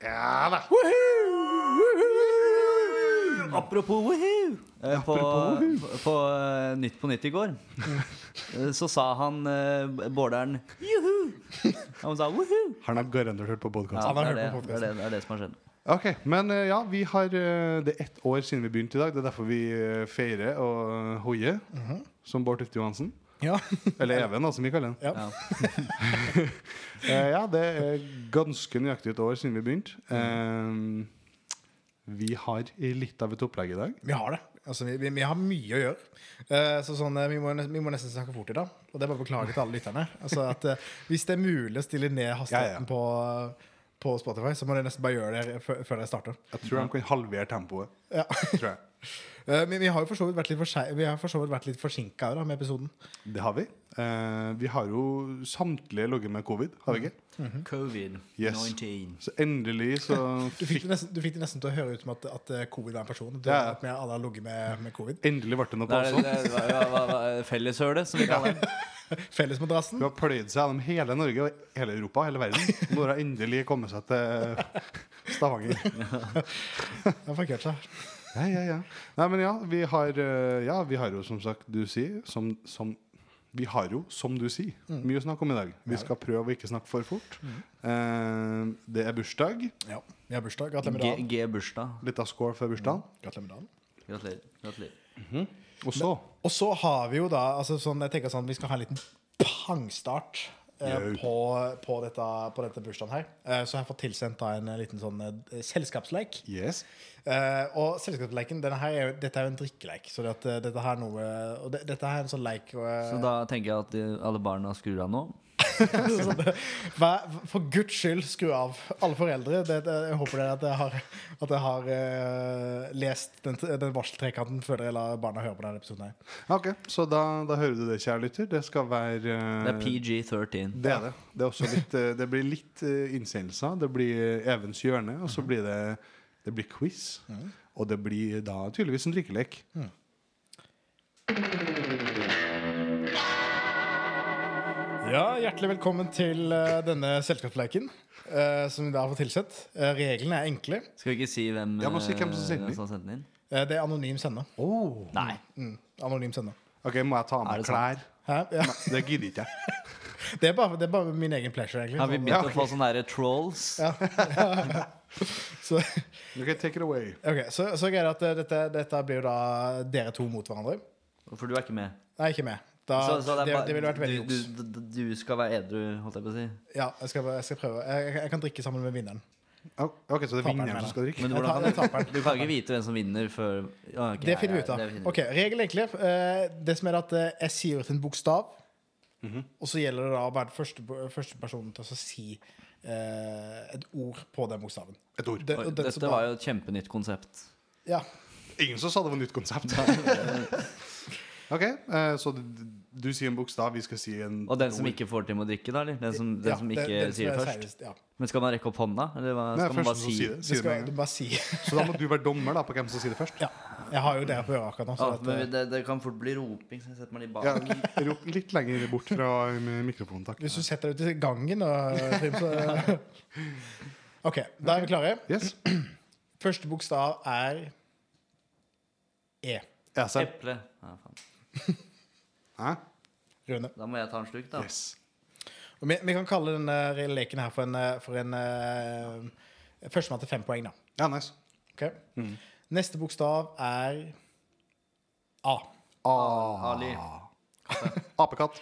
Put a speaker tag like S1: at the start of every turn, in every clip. S1: Ja da.
S2: Apropos woohoo! eh, På,
S1: Apropos
S2: på, eh, Nytt på Nytt i går eh, så sa han eh, Bårderen juhu! Han sa woohoo!
S3: Har han garantert hørt på podkasten?
S2: Ja,
S1: Han
S2: det,
S1: har
S2: er det,
S1: hørt på
S2: det, er det, det er det som har skjedd.
S3: Ok, men eh, ja, vi har eh, Det er ett år siden vi begynte i dag. Det er derfor vi eh, feirer og hoier. Som Bård Tufte Johansen.
S1: Ja.
S3: Eller Even, da, som vi kaller han.
S1: Ja.
S2: Ja.
S3: Eh, ja, det er ganske nøyaktig et år siden vi begynte. Eh, vi har litt av et opplegg i dag.
S1: Vi har det. Altså, vi, vi, vi har mye å gjøre. Eh, så sånn, eh, vi, må, nes- vi må nesten snakke fort i dag. Og det er bare å beklage til alle lytterne. Altså, at, eh, hvis det er mulig å stille ned hastigheten
S3: Ja, ja.
S1: På, på Spotify, så må dere nesten bare gjøre det før, før dere starter.
S3: Jeg tror de kan halvere tempoet.
S1: Ja.
S3: Tror jeg.
S1: Eh, men vi har jo for så vidt vært litt, forsei- vi har for så vidt vært litt forsinka med episoden.
S3: Det har vi. Eh, vi har jo samtlige ligget med covid, har vi ikke?
S2: Mhm. Covid-19.
S3: Så endelig så
S1: Du fikk det nesten, du fikk det nesten til å høre ut som at, at eh, covid er en person. Du,
S3: Ja, ja.
S1: at vi alle har ligget med, med covid.
S3: Endelig ble det noe
S2: Det er,
S3: påstand.
S2: det er, hva- hva- hva- hva- Felleshølet, som vi kaller det.
S1: Fellesmadrassen.
S3: Hun har pløyd seg gjennom hele Norge og hele Europa hele verden. Nå har hun endelig kommet seg til eh, Stavanger.
S1: Den fungerte seg.
S3: Ja, ja, ja. Nei, men ja, vi har, eh, ja, vi har jo som sagt du sier som, som, Vi har jo, som du sier,
S2: Mm.
S3: mye å snakke om i dag. Vi skal prøve å ikke snakke for fort. Eh, det er bursdag.
S1: Ja. Vi har bursdag. Gratulerer med
S2: G-
S1: dagen.
S2: G-bursdag.
S3: Litt av skål for bursdagen.
S1: Gratulerer med dagen.
S2: Gratulerer. Gratulerer. Mm.
S3: Og så
S1: Og så har vi jo da altså sånn, Jeg tenker sånn, vi skal ha en liten pangstart eh,
S3: Jau.
S1: på, på, dette, på dette bursdagen her. Eh, så jeg har fått tilsendt da en eh, liten sånn eh, selskapsleik.
S3: Yes.
S1: Eh, og selskapsleiken, denne her er jo, dette er jo en drikkeleik. Så det at, eh, dette her er noe Og det, dette her er en sånn leik eh,
S2: Så da tenker jeg at eh, alle barna skrur av nå.
S1: sånn, eh, vær- For guds skyld, skru av. Alle foreldre. Det, det, jeg håper dere at jeg har, at jeg har eh, lest den, den varseltrekanten før dere lar barna høre på denne episoden. her
S3: Ok, Så da, da hører du det, kjære lytter. Det skal være eh,
S2: Det er PG-13.
S3: Det er det. Det, er også litt, eh, det blir litt eh, innsendelser. Det blir eh, Evens hjørne, og så blir det, det blir quiz. Og det blir da tydeligvis en drikkelek.
S1: Ja, Hjertelig velkommen til eh, denne selskapsleiken eh, som vi da har fått tilsett. Eh, reglene er enkle.
S2: Skal vi ikke si hvem,
S3: Ja, må si
S2: eh,
S3: hvem som sendte den.
S2: sendte den inn?
S1: Eh, det er anonym sender.
S2: Nei.
S1: Mm, anonym sender.
S3: Ok, Må jeg ta av
S2: Er
S3: meg
S2: det sant?
S3: klær?
S1: Hæ? Ja.
S3: Det gidder ikke jeg.
S1: Det, er bare, det er bare min egen pleasure, egentlig.
S2: Har vi
S1: Sånn,
S2: begynt å få sånne her trolls?
S1: så,
S3: Ok, take it away.
S1: ok, så, så greier det at eh, dette, dette blir jo da dere to mot hverandre.
S2: For du er ikke med.
S1: Nei, ikke meg. Da,
S2: Så, så
S1: det,
S2: det, er bare-
S1: det, ville vært veldig
S2: du,
S1: juks.
S2: du, du- du skal være edru, holdt jeg på å si.
S1: Ja, jeg skal, jeg skal prøve. Jeg, jeg kan drikke sammen med vinneren.
S3: Ok, Så det er
S1: Taperen
S3: vinneren
S1: mener.
S3: som skal drikke?
S2: Men
S1: Jeg
S2: hvordan
S1: tar-
S2: kan du,
S1: jeg taper den.
S2: du kan ikke vite hvem som vinner før ja, ok,
S1: Det finner vi
S2: ja, ja,
S1: ut av.
S2: det finner vi
S1: Ok, Regel egentlig. eh, Det som er at eh, jeg sier ut en bokstav,
S3: Mhm.
S1: og så gjelder det da å være den første, første personen til å si eh, et ord på den bokstaven.
S3: Et ord.
S1: Det,
S2: Oi,
S1: og den som
S2: Dette
S1: da-
S2: var jo et kjempenytt konsept.
S1: Ja.
S3: Ingen som sa det var nytt konsept. ok, eh, Så du, du sier en bokstav, vi skal si en
S2: Og den som ikke får til med å drikke, da? eller? Den som, den
S1: ja,
S2: som ikke
S1: den
S2: sier
S1: er
S2: det først?
S1: seriøst, Ja.
S2: Men skal man rekke opp hånda? Eller hva,
S3: Nei,
S2: skal man
S3: først
S2: bare
S3: som
S2: si
S3: sier det.
S1: Du
S3: Sier det med
S1: skal
S3: en
S1: du
S3: gang.
S1: bare si
S3: Så da må du være dommer da på hvem som sier det først.
S1: Ja. Jeg har jo dere på øret akkurat nå. Så
S2: Å,
S1: at,
S2: Ah, men
S1: eh,
S2: det, det kan fort bli roping, så jeg setter meg litt bak.
S3: Sånn Ja, Rop litt lenger bort fra eh, mikrofonen, takk.
S1: hvis du setter deg ut i gangen og Trym, så OK, da er vi klare.
S3: Yes.
S1: Første bokstav er E.
S3: Esel.
S2: Eple. Ja, faen.
S3: Hæ?
S1: Rune.
S2: Da må jeg ta en slurk, da.
S3: Yes.
S1: Og vi, vi kan kalle denne leken her for en, eh, for en eh, Førstemann til fem poeng, da.
S3: Ja, nice.
S1: Ok? Neste bokstav er A.
S3: Ah.
S2: Ali.
S3: Apekatt.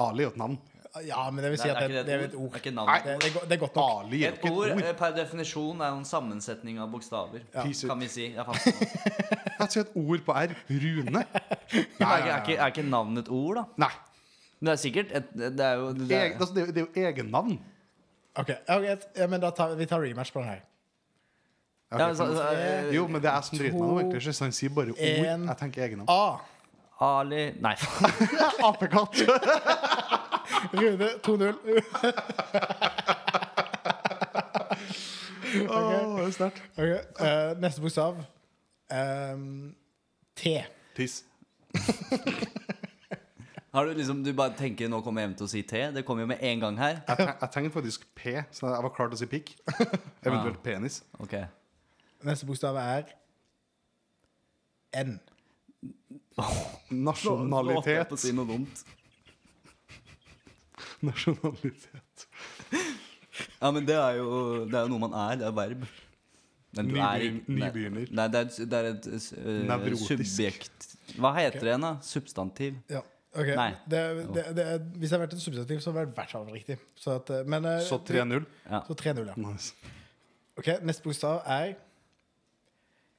S3: Ali er jo et navn.
S1: Ja, men det vil si
S2: Nei,
S1: at
S2: ikke
S1: det, det er et
S2: Det
S1: ord.
S2: er ikke
S3: Nei.
S2: navnet.
S1: Det, det, er go- det er godt nok.
S3: Ali er
S2: Et
S3: jo ikke
S2: ord
S3: et ord.
S2: eh, per definisjon er jo en sammensetning av bokstaver.
S3: Piece
S2: Kan vi si. Jeg fant på noe.
S3: Jeg sier et ord på R. Rune.
S2: Men Er ikke, er ikke, er ikke navnet et ord, da?
S3: Nei.
S2: Men det er sikkert et, Det er jo det
S3: Eg-
S2: er,
S3: altså, det, er jo- det er jo egennavn.
S1: Ok, ok, ja, men da tar, Vi tar rematch på den her.
S3: Ja,
S2: ja,
S3: ok.
S2: så, så, eh,
S3: Jo, men det er som driter meg nå, egentlig. Så han sier bare ord.
S1: en-
S3: Jeg tenker egennavn.
S1: A.
S2: Ali Nei, faen.
S3: Apekatt.
S1: Rune 2-0.
S3: Åh, det er sterkt.
S1: Ok, eh, neste bokstav eh, T.
S3: Tiss.
S2: Har du liksom, du bare tenker nå kommer jeg hjem til å si T. Det kommer jo med en gang her.
S3: Jeg, te- jeg tenkte faktisk P, så jeg var klar til å si pikk. Eventuelt penis.
S2: Ok
S1: Neste bokstav er N.
S2: Nå holdt jeg
S3: Nasjonalitet.
S2: på å si noe dumt.
S3: Nasjonalitet.
S2: Ja, men det er jo, det er jo noe man er. Det er verb. Men du er
S3: Nybegyn-
S2: ikke- nei-
S3: nybegynner.
S2: Nei, det er, et- det er et øh,
S3: Nevrotisk.
S2: subjekt Hva heter det igjen, da? Substantiv.
S1: Ja. ok.
S2: Nei.
S1: Det, det, det, hvis det hadde vært et substantiv, så hadde det vært i hvert fall riktig. Så, at, eh, men, eh,
S3: Så 3-0.
S2: Ja.
S1: Så 3-0, ja.
S3: Nice.
S1: Ok, Neste bokstav er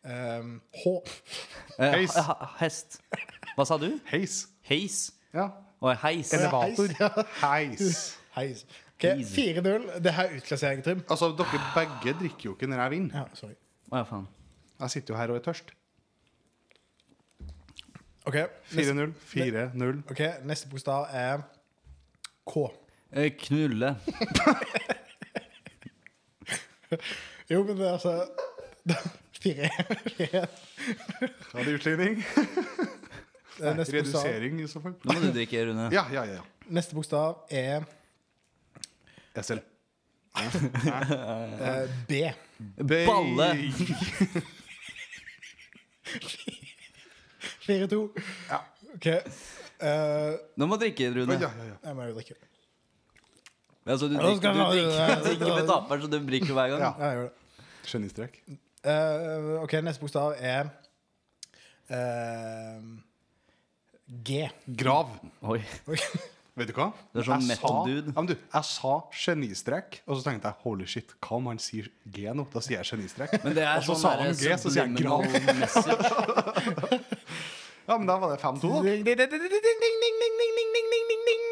S1: ehm, H.
S2: Eh,
S3: Heis.
S2: he- he- hest. Hva sa du?
S3: Heis.
S2: Heis?
S3: Ja.
S2: Og heis.
S3: Elevator.
S1: heis, ja.
S3: Heis.
S1: Heis. Ok,
S2: Heis.
S1: 4-0. Det her er utklassering, Trym.
S3: Altså, dere begge drikker jo ikke når jeg vinner.
S1: Ja, sorry.
S2: Å ja, faen.
S3: Jeg sitter jo her og er tørst.
S1: Ok, neste,
S3: 4-0. 4-0.
S1: ok, neste bokstav er K.
S2: Eh, Knulle.
S1: Jo, men det er altså Fire. Fire.
S3: Da er det utligning.
S1: Det er Neste bokstav,
S3: Redusering, i så fall.
S2: Nå må du drikke, Rune.
S3: Ja, ja, ja. ja.
S1: neste bokstav er
S3: SL.
S1: eh, B.
S2: Balle.
S1: Fire, to.
S3: Ja.
S1: Ok. eh,
S2: Nå må du drikke, Rune.
S3: Oi, ja, ja, ja.
S1: jeg må jo drikke.
S2: Altså, du
S1: Ja, nå
S2: drikker,
S1: skal
S2: du
S1: jeg-
S2: drikker, du drikker med taperen, så du drikker hver gang.
S3: Ja.
S1: Ja, jeg gjør det.
S3: Skjønningstrekk.
S1: Eh, ok, neste bokstav er eh, G.
S3: Grav.
S2: Oi.
S3: Vet du hva?
S2: Det er sånn
S3: Jeg sa-
S2: metal-dude.
S3: Ja, men du, jeg sa genistrek, og så tenkte jeg holy shit, hva om han sier G nå? Da sier jeg genistrek.
S2: Men det er
S3: og så
S2: sånn
S3: sa
S2: derre
S3: han G, så sier jeg
S2: subliminal
S3: grav.
S2: message.
S3: Ja, men da var det 5-2, da.
S1: Ding, ding, ding, ding, ding, ding, ding, ding, ding, ding, ding, ding, ding, ding.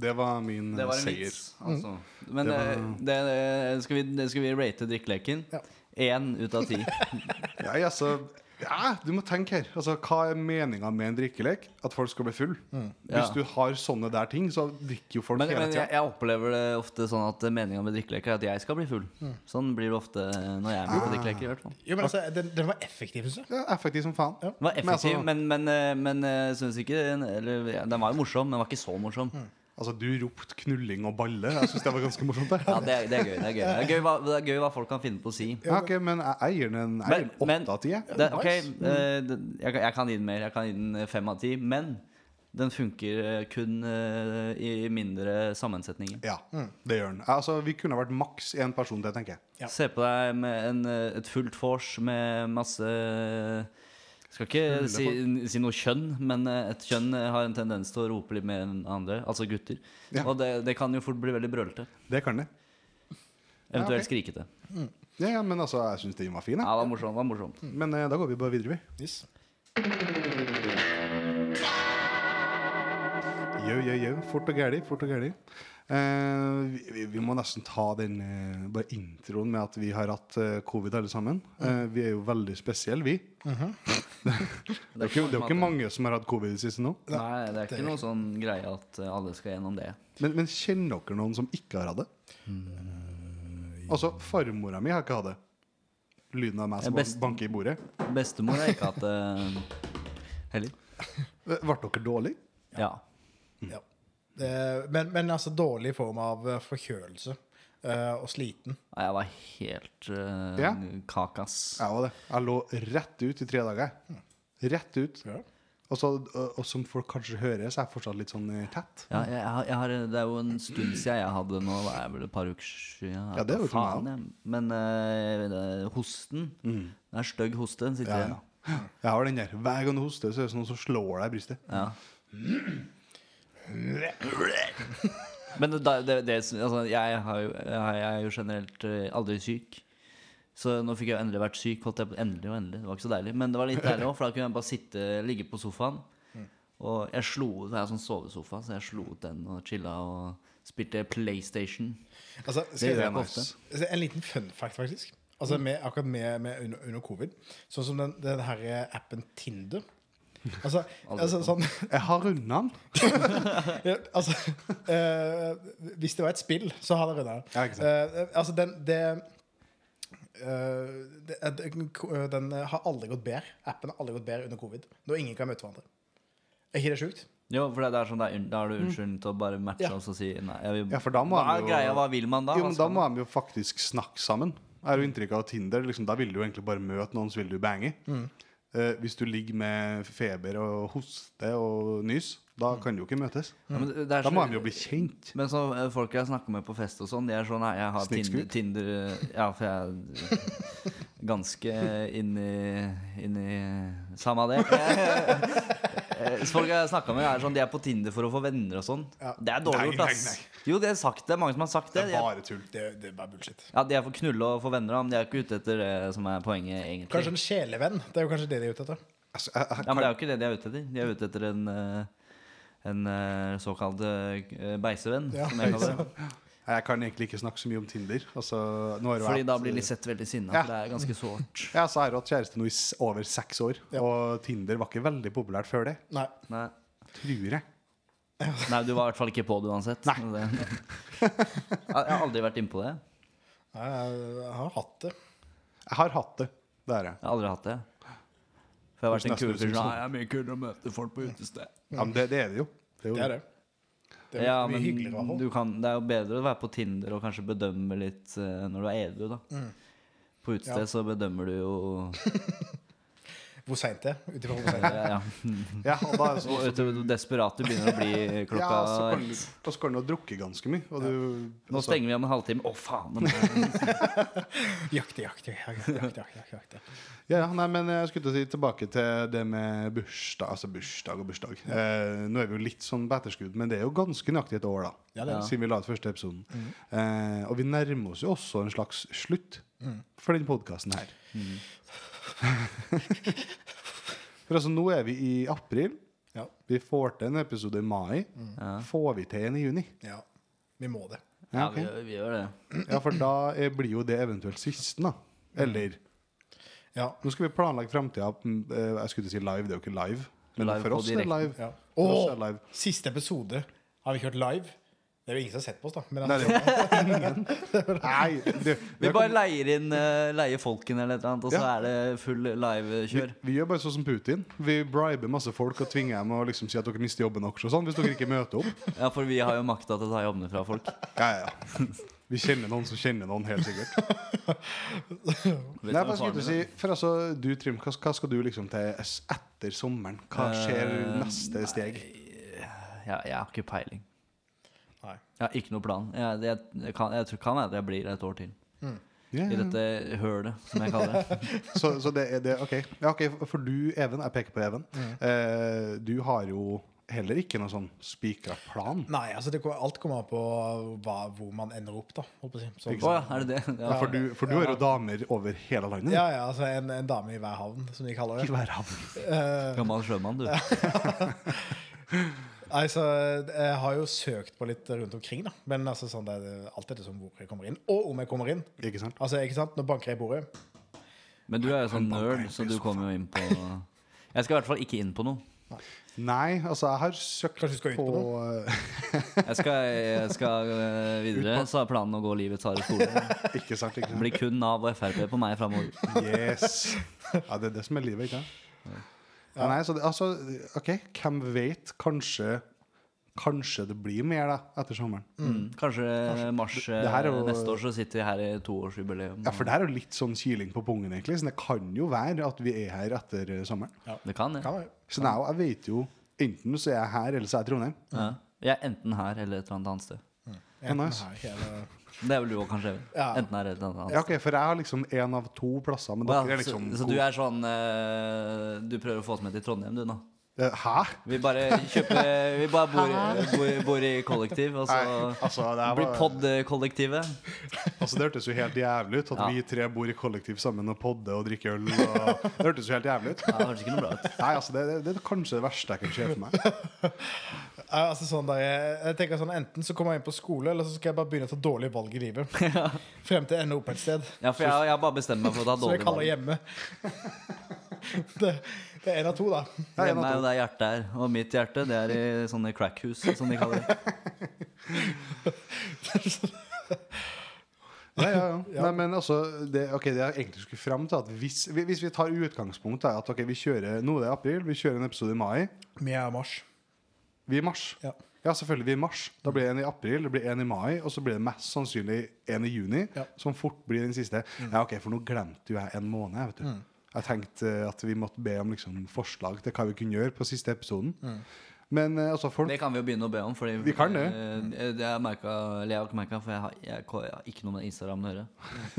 S3: Det var min
S2: Det var en
S3: seier.
S2: vits. Altså. Men
S3: Det var-
S2: eh, det, det, skal, vi, det skal vi rate drikkeleken?
S1: Ja.
S2: Én ut av ti.
S3: Ja, jeg, altså, ja, du må tenke her. Altså, hva er meninga med en drikkelek? At folk skal bli full? Hvis
S2: Mm, Ja.
S3: du har sånne der ting, så drikker jo folk
S2: Men,
S3: hele
S2: men jeg,
S3: tida.
S2: jeg opplever det ofte sånn at meninga med drikkeleken er at jeg skal bli full.
S3: Mm.
S2: Sånn blir det ofte når jeg er
S3: Ah.
S2: med på drikkeleker. i hvert fall
S1: Jo, men altså, den, den var effektiv, syns jeg.
S3: Ja, effektiv som faen.
S1: Ja.
S2: Den var
S3: Men altså-
S2: effektiv, men, men, eh, men, eh, synes ikke eller, ja, Den var jo morsom, men den var ikke så morsom.
S3: Altså, du ropte 'knulling og balle'. Jeg syns det var ganske morsomt. Det.
S2: Ja, det, er- det er gøy. Det er gøy, det er gøy, hva, det er gøy hva folk kan finne på å si.
S3: Ja, ok, men jeg jeg gir den en jeg
S2: Men-
S3: gir den
S2: men-
S3: åtte av ti. jeg.
S2: Det, ok,
S1: nice.
S3: Mm.
S2: eh, det, jeg, kan- jeg kan gi den mer. Jeg kan gi den eh, fem av ti. Men den funker eh, kun eh, i mindre sammensetninger.
S3: Ja, det gjør den. Altså, vi kunne vært maks én person til, tenker jeg.
S1: Ja.
S2: Se på deg med en, eh, et fullt vors med masse eh, Skal ikke si, si noe kjønn, men eh, et kjønn eh, har en tendens til å rope litt mer enn andre, altså gutter.
S3: Ja.
S2: Og det, det kan jo fort bli veldig brølete.
S3: Det kan det.
S2: Eventuelt
S3: Ja,
S2: skrikete.
S3: Ja, ja, men altså, jeg syns den var fin.
S2: Ja,
S3: Jeg.
S2: det var morsomt. Det var morsomt.
S3: Men eh, da går vi bare videre, vi.
S1: Yes.
S3: Yo, yo, yo. Fort og gæli, fort og gæli. Eh, vi- vi, vi må nesten ta den eh, bare introen med at vi har hatt eh, covid alle sammen. Eh, vi er jo veldig spesielle, vi. Det er jo ikke, det er jo ikke mange som har hatt covid i det siste nå.
S2: Nei, det er
S1: det
S2: ikke
S1: er
S2: noe sånn greie at eh, alle skal gjennom det.
S3: Men, men kjenner dere noen som ikke har hatt det? Altså, farmora mi har ikke hatt det. Lyden av meg som
S2: Ja, best-
S3: banker i bordet.
S2: Bestemor har ikke eh, hatt det heller.
S3: Eh, Ble dere dårlig?
S2: Ja.
S1: Mm. Ja. Eh, men, men altså dårlig form av eh, forkjølelse eh, og sliten.
S2: Nei, Jeg var helt eh,
S3: Ja.
S2: kakas.
S3: Jeg var det. Jeg lå rett ut i tre dager. Rett ut.
S1: Ja.
S3: Og, så, og, og som folk kanskje hører, så er jeg fortsatt litt sånn eh, tett.
S2: Ja, jeg, jeg har- jeg har, det er jo en stund siden jeg hadde det nå. Det er vel et par uker siden. jeg
S3: Ja, det er jo
S2: hadde,
S3: for meg
S2: jeg. Men eh, det- hosten Det er stygg hoste. Den sitter
S3: Mm. Ja,
S2: igjen.
S3: ja. Jeg har den der. Hver gang du hoster, så er det sånn som slår deg i brystet.
S2: Ja. Men det, det, det, altså, jeg, har jo, jeg er jo generelt eh, aldri syk. Så nå fikk jeg jo endelig vært syk. Holdt jeg på, endelig og endelig. Det var ikke så deilig. Men det var litt deilig òg, for da kunne jeg bare sitte, ligge på sofaen. Og jeg slo ut, det er sånn sovesofa, så jeg slo ut den og chilla og spilte PlayStation.
S1: Altså,
S2: Det
S1: skal
S2: gjør
S1: jeg,
S2: jeg ikke
S3: nice.
S2: ofte.
S1: Altså, En liten fun fact, faktisk. Altså med, Akkurat med, med under, under covid. Sånn som den, den her eh, appen Tinder. Altså, altså sånn
S3: Jeg har runda den.
S1: ja, Altså eh, Hvis det var et spill, så har det runda.
S3: Ja, ikke
S1: altså, den det, eh, det eh, den, ko- eh, den har aldri gått bedre. Appen har aldri gått bedre under covid. Når ingen kan møte hverandre. Er ikke det sjukt?
S2: Jo, for det er sånn, det er, un- da har du unnskyldning til å bare matche
S1: Ja.
S2: oss og si nei. Jeg vil,
S3: Mm. Ja, for da må
S2: hva
S3: han
S2: er
S3: jo-
S2: greia? Hva vil man da? Altså,
S3: jo,
S2: Hva
S3: men
S2: skal
S3: da må de jo faktisk snakke sammen. Er jo inntrykk av Tinder. Liksom, da vil du jo egentlig bare møte noen, så vil du bange.
S2: Mm.
S3: Eh, hvis du ligger med feber og hoste og nys, da kan du jo ikke møtes.
S2: Ja, men Mm. det er
S3: Da
S2: så-
S3: må de jo bli kjent.
S2: Men så eh, folk jeg snakker med på fest og sånn, de er sånn Nei, jeg har Tinder,
S3: Snikskutt?
S2: Tinder Ja, for jeg er ganske inni Inni Samme av det. Eh, Så folk jeg har snakket med, er sånn De er på Tinder for å få venner og sånn. Det er dårlig
S3: Nei,
S2: gjort, ass.
S3: nei, nei.
S2: Jo, det er sagt det. er Mange som har sagt
S3: Det
S2: det.
S3: er
S2: De er,
S3: bare tull.
S1: Det, det er bare bullshit.
S2: ja, de er for knulle og for venner, da, men de er ikke ute etter det som er poenget, egentlig.
S1: Kanskje en sjelevenn. Det er jo kanskje det de er ute etter.
S3: Altså, jeg, jeg,
S2: Ja, men det er jo ikke det de er ute etter. De er ute etter en eh, en eh, såkalt eh, beisevenn,
S1: Ja,
S2: som jeg kaller det.
S3: kan- jeg kan egentlig ikke snakke så mye om Tinder. Altså, nå har det
S2: Fordi
S3: vært-
S2: da blir Lisette veldig sinna,
S3: Ja.
S2: for det er ganske sårt.
S3: Ja, så har jeg hatt kjæreste nå i s- over seks år, og Tinder var ikke veldig populært før det.
S1: Nei.
S2: Nei.
S3: Tror jeg.
S2: Nei, du var i hvert fall ikke på det uansett. Det. Jeg har aldri vært innpå det.
S1: Nei, Jeg har hatt det.
S3: Jeg har hatt det. Det er jeg.
S2: Jeg har aldri hatt det. For jeg har vært en
S3: Nesten
S2: kul
S3: ut som
S2: fyr.
S3: sånn.
S2: Nei, jeg er mye kulere å møte folk på utested.
S3: Ja, men det, det er det jo. Det er jo
S1: Det er det. Det er
S2: Ja,
S1: mye hyggeligere å ha
S2: men
S1: på.
S2: du kan, det er jo bedre å være på Tinder og kanskje bedømme litt eh, når du er edru, da.
S3: Mm.
S2: På utested
S1: Ja.
S2: så bedømmer du jo
S1: Hvor seint det er. Ut ifra hvor seint det er.
S2: ja, ja.
S3: Ja, og da er det
S2: Og
S3: sånn
S2: vet du hvor desperat du begynner å bli klokka
S3: Ja, så kan du, og så kan du ha drukket ganske mye. Og du,
S2: Nå
S3: altså,
S2: stenger vi om en halvtime. Å, faen! nå må jeg-
S1: Jakte, jakte, jakte, jakte, jakte, jakte.
S3: ja, ja, nei, men jeg skulle til å si tilbake til det med bursdag Altså bursdag og bursdag. Eh, nå er vi jo litt sånn på etterskudd, men det er jo ganske nøyaktig et år, da.
S1: Ja, det er det.
S3: Siden vi la ut første episoden. Eh, og vi nærmer oss jo også en slags slutt for den podkasten her. for altså, nå er vi i april.
S1: Ja.
S3: Vi får til en episode i mai.
S2: Ja.
S3: Får vi til en i juni?
S1: ja. Vi må det.
S2: Ja,
S3: ok.
S2: vi, gjør- vi gjør det.
S3: Ja, for da eh, blir jo det eventuelt siste, da. Eller
S1: Ja.
S3: Nå skal vi planlegge framtida. Jeg skulle til å si live, det er jo ikke live. Men
S2: Live
S3: for
S2: på
S3: oss er det
S2: direkten.
S3: live.
S1: ja.
S3: For oss er
S1: Åh,
S3: det live.
S1: siste episode har vi kjørt live. Det er jo ingen som har sett på oss, da. Men
S3: Nei, det er jo ingen. Nei, du,
S2: Vi
S3: vi,
S2: bare leier inn eh, leier folken eller et eller annet, og så
S3: Ja.
S2: er det full livekjør.
S3: vi gjør bare sånn som Putin. Vi briber masse folk og tvinger dem å liksom si at dere mister jobben deres og sånn, hvis dere ikke møter opp.
S2: Ja, for vi har jo makta til å ta jobbene fra folk.
S3: Ja, ja, ja. Vi kjenner noen som kjenner noen, helt sikkert.
S2: Vet
S3: Nei,
S2: du
S3: hva
S2: hva
S3: skulle du
S2: faren
S3: si?
S2: min
S3: For altså, du, Trym, hva, hva skal du liksom til s- etter sommeren? Hva skjer
S2: Eh,
S3: neste steg?
S2: er? Ja, jeg har ikke peiling.
S1: Nei.
S2: Jeg har ikke noe plan. Jeg, jeg, jeg, kan, jeg tror kan være at jeg blir et år til
S3: Ja,
S2: i
S3: ja.
S2: dette hølet, som jeg kaller det.
S3: Så, så det er det, ok. Ja, ok, for- For du, Even, jeg peker på Even,
S1: Mm.
S3: eh, du har jo heller ikke noen sånn spikra plan.
S1: Nei, altså det, går- alt kommer an på hva, hvor man ender opp, da. holdt på å si. Så-
S2: Å ja, er det det? Ja.
S3: for du, for du har jo damer over hele landet.
S1: ja, ja, altså en, en dame i hver havn, som de kaller det.
S3: Ikke hver havn.
S1: Eh,
S2: Gammel sjømann, du.
S1: nei, så jeg har jo søkt på litt rundt omkring, da. Men altså, sånn, det er alt dette som hvor jeg kommer inn. Og om jeg kommer inn.
S3: Ikke sant?
S1: Altså, ikke sant? Nå banker jeg i bordet.
S2: Men du er jo sånn nerd, så du kommer jo inn på Jeg skal i hvert fall ikke inn på noe.
S3: Nei, altså, jeg har søkt eh,
S1: Kanskje du skal ut på
S2: Jeg skal, jeg skal eh, videre, så er planen å gå livets harde skole.
S3: eh, Ikke sant? ikke
S2: Det
S3: sant?
S2: blir kun Nav og Frp på meg framover.
S3: Yes. Ja, det er det som er livet, ikke sant? Ja, nei, så det, altså, OK, hvem vet? Kanskje Kanskje det blir mer da, etter sommeren.
S2: Mm. Kanskje, mars eh,
S3: Mm. Det her er jo-
S2: neste år så sitter vi her i toårsjubileum.
S3: Ja, For det her er jo litt sånn kiling på pungen, egentlig. Så det kan jo være at vi er her etter eh, sommeren.
S2: Det kan det.
S1: Kan jeg.
S3: Så det er jo, jeg vet jo Enten så er jeg her, eller så er jeg i Trondheim.
S2: Ja. Jeg er enten her eller et eller annet annet sted.
S1: Enten
S3: nice.
S1: her, eller-
S2: Det er vel du òg, kanskje? Even?
S1: Ja.
S2: Enten her eller et eller annet
S3: Ja,
S2: annet.
S3: ok, For jeg har liksom én av to plasser. Men dere
S2: Ja,
S3: er liksom
S2: så, så du er sånn eh, Du prøver å få oss med til Trondheim, du, nå?
S3: Eh, Hæ?
S2: Vi bare kjøper Vi bare bor, bor, bor i kollektiv, og så
S3: Nei, altså, det, her
S2: blir eh,
S3: var-
S2: pod-kollektivet.
S3: altså, det hørtes jo helt jævlig ut at
S2: Ja.
S3: vi tre bor i kollektiv sammen og podder og drikker øl. Og, det hørtes jo helt jævlig ut.
S2: Ja, det høres ikke noe bra ut.
S3: Nei, altså, det, det, det er kanskje det verste jeg kan se for meg.
S1: Ja, altså sånn der, jeg, jeg tenker sånn, Enten så kommer jeg inn på skole, eller så skal jeg bare begynne å ta dårlige valg i livet. Frem til jeg ender opp et sted
S2: Ja, for jeg, jeg bare bestemmer meg for å ta
S1: som jeg
S2: dårlig
S1: kaller
S2: valg.
S1: hjemme. Det, det er en av to, da.
S2: Hjemme er jo der hjertet er. Og mitt hjerte, det er i sånne crackhus, som de kaller det.
S3: Ja, ja, ja.
S1: Ja.
S3: Nei, men altså det, Ok, det jeg egentlig skulle fram til at Hvis, hvi- hvis vi tar utgangspunkt er at ok, vi kjører Nå er det april, vi kjører en episode i mai
S1: Vi er mars.
S3: Vi er i mars
S1: Ja.
S3: selvfølgelig vi er i mars Da blir det en i april, det blir en i mai Og så blir det mest sannsynlig en i juni
S1: Ja. Mm.
S3: Som fort blir den siste Ja, ok, for nå glemte jo jeg en måned, vet du Jeg tenkte eh, at vi måtte be om liksom, forslag Til hva vi kunne gjøre på siste episoden
S1: Mm.
S3: Men eh, altså folk
S2: Det kan vi jo begynne å be om. Fordi
S3: Vi kan det.
S2: eh, det jeg merka, eller jeg har ikke merket for jeg har, jeg, ko- jeg har ikke noe med Instagram å gjøre.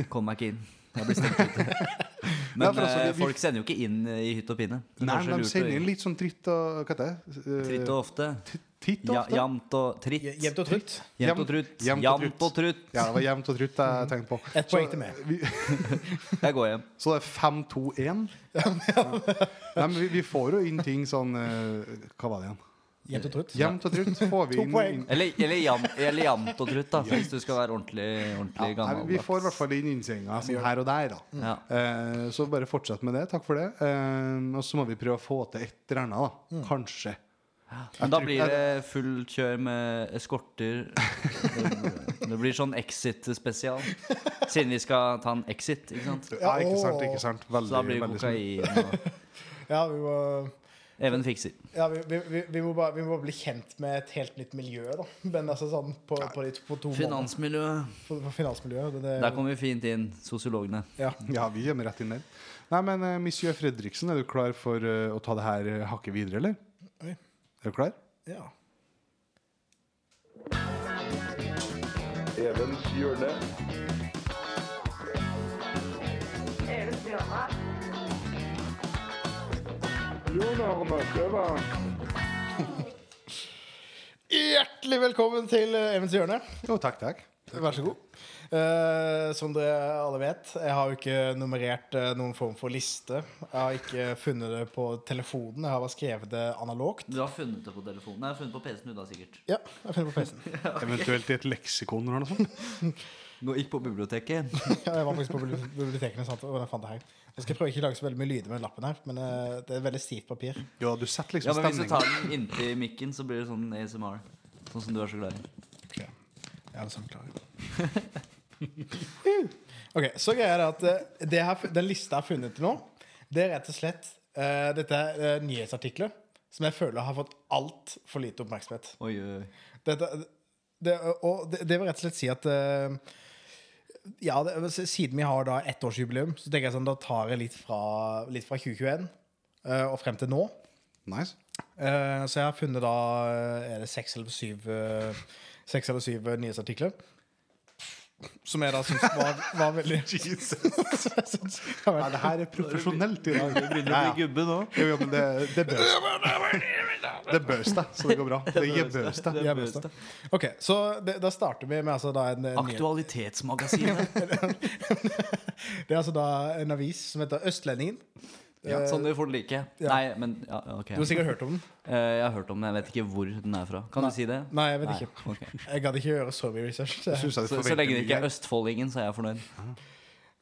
S2: Kom meg ikke inn. Jeg blir stengt ute. Men
S3: Nei, for altså,
S2: eh,
S3: vi- vi-
S2: folk sender jo ikke inn eh, i hytt og pinne. Det er
S3: Nei,
S2: kanskje
S3: men de
S2: lurt å-
S3: sender inn litt sånn tritt og Hva heter det? Eh,
S2: Tritt og ofte.
S3: t- Titt og
S2: Ja,
S3: ofte?
S2: jamt og tritt.
S1: Je- Jevnt og trutt.
S2: Jevnt
S3: Jevnt-
S2: og trutt.
S3: jevnt og
S2: Jevnt og trutt.
S3: Ja, det var jevnt og trutt jeg tenkte på.
S1: Ett Mm. poeng til meg.
S3: Så, vi,
S2: Jeg går hjem.
S3: så det er 5-2-1. Ja. Nei, men vi, vi får jo inn ting sånn eh, Hva var det igjen?
S1: Jevnt og trutt.
S3: Jevnt og trutt får vi
S1: To
S3: inn.
S1: poeng.
S3: inn
S2: Eller, eller, jam, eller jevnt og trutt, da, hvis du skal være ordentlig, ordentlig
S3: Nei,
S2: gammel.
S3: vi får i hvert fall inn innsendinger sånn her og der, da.
S2: Ja.
S3: Eh, så bare fortsett med det. Takk for det. Eh, og så må vi prøve å få til et eller annet, da. Kanskje.
S2: Men da
S3: tror-
S2: blir det full kjør med eskorter. Det- Det blir sånn Exit-spesial. Siden vi skal ta en Exit, ikke sant?
S3: Ja, ikke sant?
S1: åh.
S3: ikke sant
S2: Så
S3: Veldig,
S2: da blir det
S3: veldig smooth.
S2: kokain og
S1: Ja, vi må,
S2: Even fikser.
S1: ja, vi, vi, vi, vi må bare, vi må bare bli kjent med et helt nytt miljø, da. Men altså sånn på, på, de, på to måneder.
S2: Finansmiljøet.
S1: På, på finansmiljøet. Det, det,
S2: Der kommer vi fint inn, sosiologene.
S1: ja.
S3: Ja, vi gjemmer rett inn der. Nei, men eh, Monsieur Fredriksen, er du klar for eh, å ta det her eh, hakket videre, eller?
S1: Oi.
S3: Er du klar?
S1: ja.
S4: Evens hjørne.
S5: Evens hjørne.
S1: Hjertelig velkommen til eh, Evens hjørne.
S3: Jo, takk, takk.
S1: Vær så god. Eh, som dere alle vet, jeg har jo ikke nummerert eh, noen form for liste. Jeg har ikke funnet det på telefonen, jeg har bare skrevet det analogt.
S2: Du har funnet det på telefonen? Nei, funnet på PC-en du, da, sikkert.
S1: Ja, jeg finner det på PC-en.
S3: Eventuelt i et leksikon eller noe sånt.
S2: Gå ikke på biblioteket.
S1: Ja, jeg var faktisk på bibli- bibliotekene. Sant? Og jeg fant det her. Jeg skal prøve ikke å lage så veldig mye lyder med lappen her, men eh, det er veldig stivt papir.
S3: Ja, du setter
S2: Ja,
S3: liksom
S2: men Hvis du
S3: stemningen.
S2: tar den inntil mikken, så blir det sånn ASMR. Sånn som du er så glad i.
S1: Ok, Jeg er sånn klar. Ok, Så greia er det at eh, det jeg har fu- den lista jeg har funnet til nå, det er rett og slett eh, Dette er eh, nyhetsartikler som jeg føler har fått altfor lite oppmerksomhet.
S2: Oi, oi, oi.
S1: Dette, det, og det, det vil rett og slett si at eh, Ja, det, siden vi har da ettårsjubileum, så tenker jeg sånn, da tar jeg litt fra, litt fra 2021 eh, og frem til nå.
S3: Nice.
S1: Eh, så jeg har funnet da eh, Er det seks eller syv eh, Seks eller syv eh, nyhetsartikler. Som jeg da syns var, var veldig
S3: Jesus.
S1: Som jeg syns
S3: Ja,
S1: var veldig-
S3: det her er profesjonelt i dag.
S2: Begynner
S3: Ja, ja.
S2: å bli gubbe nå.
S3: Jo, jo, men det, det bøs Det bøs deg, så det går bra. Det gir bøs deg.
S1: jeg er best, da. altså. Ok, så det, Da starter vi med altså da en, en nyhet.
S2: Aktualitetsmagasinet.
S1: Det er altså da en avis som heter Østlendingen.
S2: ja, sånn du får det like. Nei, men ja, ok.
S1: Du har sikkert hørt om den?
S2: Eh, Jeg har hørt om den, jeg vet ikke hvor den er fra. Kan du si det?
S1: Nei, jeg vet
S2: Nei,
S1: ikke.
S2: ok.
S1: Jeg gadd ikke gjøre så mye research. Så jeg,
S3: Synes jeg du
S2: Så, så
S3: forventer
S2: lenge det ikke
S3: mye.
S2: er Østfoldingen, så er jeg fornøyd.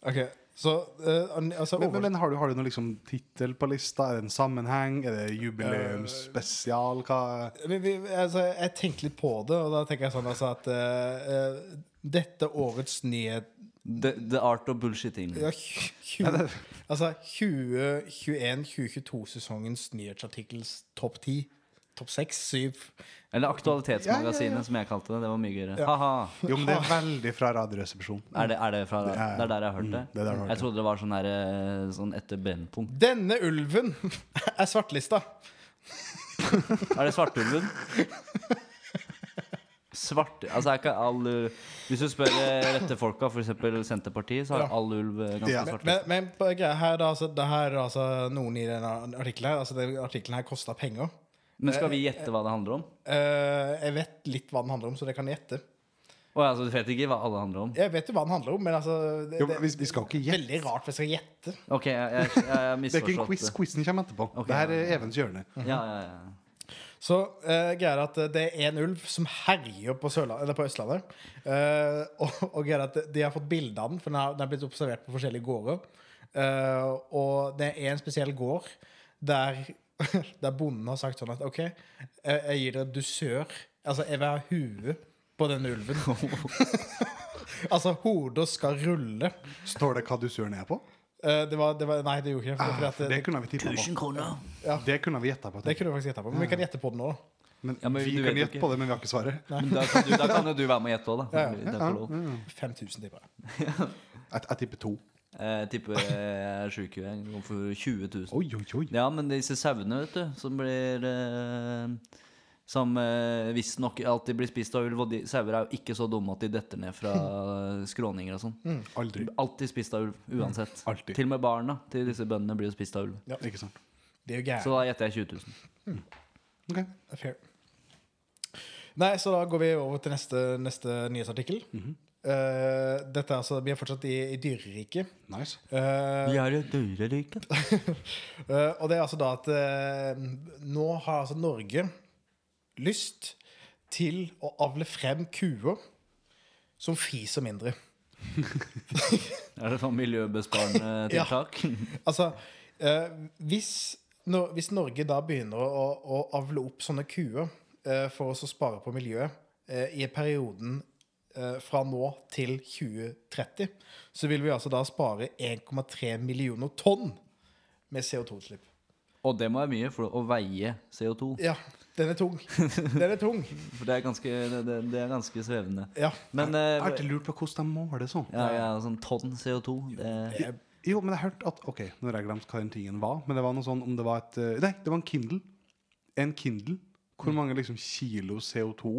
S1: Ok, så eh, an- altså,
S3: men, men,
S1: over-
S3: men har du, har du noen liksom tittel på lista? Er det en sammenheng? Er det jubileumsspesial? Hva
S1: vi, vi, altså, Jeg tenkte litt på det, og da tenker jeg sånn altså, at eh, eh, dette årets nyhet
S2: The, the art of bullshitting.
S1: ja, 20, Altså 2021-2022-sesongens nyhetsartikkels topp 10, topp 6, 7
S2: Eller Aktualitetsmagasinet, som jeg kalte det. Det var mye gøyere. Haha.
S3: Jo, men det er veldig fra Radioresepsjonen.
S2: Er det, er det fra
S3: er-
S2: Det er der jeg har hørt det?
S3: det er der jeg har hørt
S2: jeg trodde det var sånn, her, eh, sånn etter Brennpunkt.
S1: Denne ulven er svartlista.
S2: Er det Svartulven? Svart Altså er ikke all ulv- Hvis du spør eh, rette folka, f.eks. Senterpartiet, så er
S1: Ja.
S2: all ulv eh,
S3: Ja.
S2: ganske svart.
S1: Men, men på greia her, da, altså, det her er altså noen i denne artikkelen her, altså, den artikkelen her kosta penger.
S2: Men skal vi gjette hva det handler om?
S1: Eh, jeg vet litt hva den handler om, så det kan jeg gjette.
S2: Å, ja, så du vet ikke hva alle handler om?
S1: Jeg vet jo hva den handler om, men altså det,
S3: Jo,
S1: det
S3: men vi, vi skal ikke
S1: er
S3: gjette.
S1: veldig rart hvis jeg skal gjette.
S2: Ok, jeg, jeg, jeg, har
S3: Det er ikke en
S2: misforstått
S3: quiz.
S2: det.
S3: Quizen kommer etterpå.
S2: Ok.
S3: Det her er Evens hjørne.
S2: Ja, ja, ja.
S1: Så uh, greia er at det er en ulv som herjer på, Sørla- eller på Østlandet. Eh, og og greia er at de har fått bilde av den, for den har, den har blitt observert på forskjellige gårder. Eh, og det er en spesiell gård der, der bonden har sagt sånn at OK, eh, jeg gir dere dusør. Altså, jeg vil ha huet på denne ulven. altså, hodet skal rulle.
S3: Står det hva dusøren er på?
S1: Eh, det, var, det var Nei, det gjorde ikke det. Fordi
S3: Ah,
S1: at
S3: Det
S1: det,
S3: kunne vi tippa på.
S2: 1000 kroner!
S3: Det kunne vi gjetta på.
S1: det kunne jeg faktisk gjette på. Men vi kan gjette på det nå. da.
S3: Men,
S2: Ja, men
S3: vi
S2: du
S3: kan
S2: vet jo
S3: gjette
S2: ikke.
S3: på det, men vi har ikke svaret.
S2: Men da kan, du, da kan jo du være med og gjette òg, da.
S1: Ja, ja.
S2: Det er ikke lov.
S1: 5000 tipper jeg.
S3: Jeg, jeg tipper to.
S2: Eh, Jeg tipper jeg er sjuk i går for 20 000.
S3: Oi, oi, oi.
S2: Ja, men disse sauene, vet du, som blir eh, Som eh, visstnok alltid blir spist av ulv, og de sauer er jo ikke så dumme at de detter ned fra skråninger og sånn.
S3: Aldri.
S2: Alltid spist av ulv, uansett.
S3: Mm. Alltid.
S2: Til og med barna til disse bøndene blir jo spist av ulv.
S3: Ikke sant.
S1: Det er jo
S2: Så
S1: gærent.
S2: da gjetter jeg 20 000.
S3: Ok.
S1: Fair. Nei, så da går vi over til neste, neste nyhetsartikkel. Eh, dette er altså, Vi er fortsatt i, i dyreriket.
S3: Nice.
S1: Eh,
S2: Vi er et dyrerike.
S1: Eh, og det er altså da at eh, nå har altså Norge lyst til å avle frem kuer som fiser mindre.
S2: Er det sånn miljøbesparende
S1: Ja.
S2: tiltak?
S1: Altså, eh, hvis, når, hvis Norge da begynner å, å avle opp sånne kuer eh, for å så spare på miljøet eh, i perioden eh, fra nå til 2030, så vil vi altså da spare 1,3 millioner tonn med CO2-utslipp.
S2: Og det må være mye for å veie CO2.
S1: Ja, den er tung. Den er tung.
S2: For det er ganske, det, det, det er ganske svevende.
S1: Ja.
S2: Men
S3: Jeg
S2: eh,
S3: har alltid lurt på hvordan de måler sånn.
S2: ja, ja, sånn tonn CO2 det,
S3: Jo, men jeg hørte at Ok, nå har jeg glemt hva den tingen var. Men det var noe sånn om det var et eh, Nei, det var en Kindle. En Kindle.
S2: Mm.
S3: Hvor mange liksom kilo CO2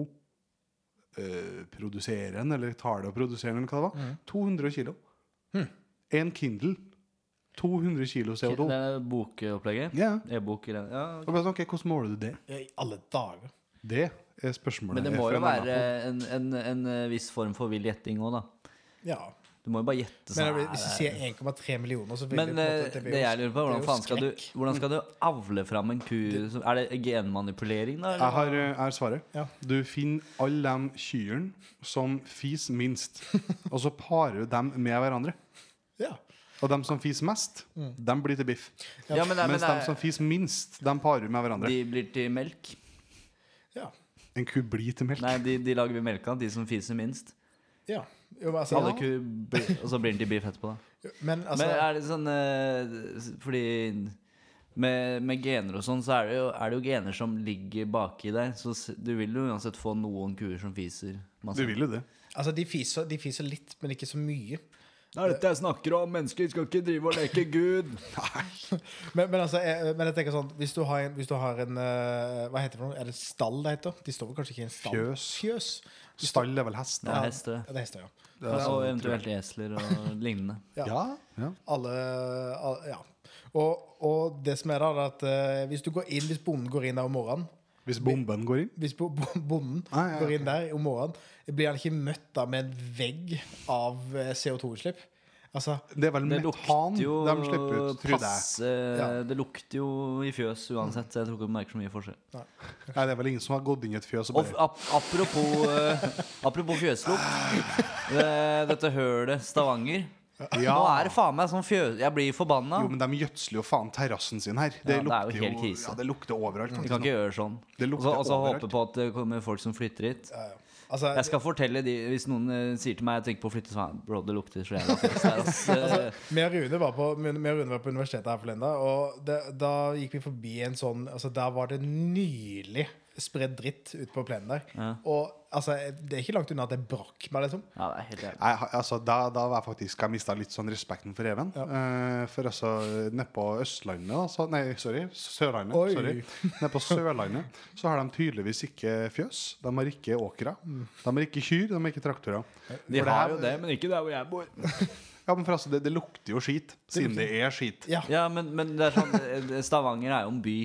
S3: eh, produserer den, eller tar det å produsere den, eller hva det var?
S2: Mm.
S3: 200 kilo. En Kindle. 200 kilo
S2: det
S3: CO2.
S2: er bokopplegget.
S3: Ja.
S2: E-bok eller ja, ok.
S3: Og bare sånn, ok, Hvordan måler du det?
S1: I alle dager.
S3: Det er spørsmålet.
S2: Men det må
S3: fra
S2: jo
S3: en annen
S2: være en, en, en eh, viss form for vill gjetting òg, da.
S1: Ja.
S2: Du må jo bare gjette
S1: Men
S2: sånn.
S1: jeg blir-
S2: "Nei,
S1: hvis du
S2: det
S1: sier 1,3 millioner, så
S2: er-"
S1: vil
S2: Men
S1: det, på en
S2: eh,
S1: måte- det blir
S2: det
S1: jo-
S2: jeg lurer på, er
S1: det
S2: hvordan
S1: er jo
S2: faen skal du
S1: skrekk.
S2: Hvordan skal du avle fram en ku? som- Er det genmanipulering, da?
S3: Jeg
S2: Eller?
S3: har, eh, jeg har svaret.
S1: Ja.
S3: Du finner alle de kyrne som fiser minst, og så parer du dem med hverandre.
S1: Ja.
S3: Og de som fiser mest, de blir til biff.
S2: Ja, men, men,
S3: Mens de som
S2: er-
S3: fiser minst, de parer med hverandre.
S2: de blir til melk?
S1: ja.
S3: En ku blir til melk.
S2: Nei, de, de lager vi melk av, de som fiser minst.
S1: ja. Jo, men altså,
S2: Alle ku, blir- og så blir den til biff etterpå, da.
S1: Men altså
S2: Men er det sånn eh, Fordi med, med gener og sånn, så er det, jo, er det jo gener som ligger baki deg. Så s- du vil jo uansett få noen kuer som fiser
S3: Du
S2: masse.
S3: vil jo det.
S1: Altså, de fiser, de fiser litt, men ikke så mye.
S2: Det er dette jeg snakker om. Mennesker skal ikke drive og leke Gud.
S1: Men, men, altså, jeg, men jeg tenker sånn Hvis du har en, hvis du har en eh, Hva heter det for noe? Er det stall det heter? De står vel kanskje ikke i en stall?
S3: Fjøs.
S1: Fjøs.
S3: Stall er vel hest?
S2: Ja,
S3: da?
S2: hester.
S1: Ja, det er hester, ja.
S2: Og eventuelt esler og lignende.
S1: Ja.
S3: Ja. ja.
S1: Alle, alle Ja. Og, og det som er da, er at eh, hvis du går inn Hvis bonden går inn der om morgenen
S3: Hvis bomben går inn.
S1: Hvis bo- bo- bonden
S3: Ah, ja, ja.
S1: går inn der om morgenen, blir han ikke møtt da med en vegg av eh, CO2-utslipp? Altså,
S3: Det er vel
S2: Det
S3: metan
S2: lukter
S3: de
S2: jo
S3: slipper ut, tror jeg.
S2: passe
S1: Ja.
S2: Det lukter jo i fjøs uansett, så jeg tror ikke du merker så mye forskjell.
S3: Nei, det er vel ingen som har gått inn i et fjøs og
S2: Og f-
S3: bare
S2: ap apropos, eh, apropos fjøslukt. Det, dette hølet Stavanger.
S3: Ja.
S2: Nå er det faen meg sånn fjøs... Jeg blir forbanna.
S3: Jo, men de gjødsler jo faen terrassen sin her. Det
S2: Ja, det er jo
S3: lukter
S2: helt
S3: jo
S2: krise.
S3: Ja, det lukter overalt.
S2: Vi
S3: faktisk
S2: kan
S3: nå.
S2: ikke gjøre sånn.
S3: Det
S2: Og
S3: lukter
S2: så og så
S3: overalt.
S2: håpe på at det kommer folk som flytter hit.
S1: altså
S2: Jeg skal fortelle de, Hvis noen eh, sier til meg jeg tenker på å flytte, så faen, bro, det lukter så jævla fest her. ass. Eh,
S1: meg og Rune var på, meg og Rune var på universitetet her forleden, da, og det, da gikk vi forbi en sånn altså, Der var det nylig spredd dritt ute på plenen der. Og altså, det er ikke langt unna at det brakk meg, liksom.
S2: Ja, det er helt jævlig.
S3: Jeg, har- altså, da, da var jeg faktisk Jeg mista litt sånn respekten for reven. Eh, for altså, nedpå Østlandet da, så, Nei, sorry. Sørlandet.
S1: Oi.
S3: Sorry. Nedpå Sørlandet så har de tydeligvis ikke fjøs. De har ikke åkre. De har ikke kyr. De har ikke traktorer.
S2: De
S3: For
S2: har
S3: her-
S2: jo det, men ikke der hvor jeg bor.
S3: Ja, men for altså, det, det lukter jo skit, siden det er skit.
S1: Ja.
S2: Ja, men, men det er sånn, eh, Stavanger er jo en by.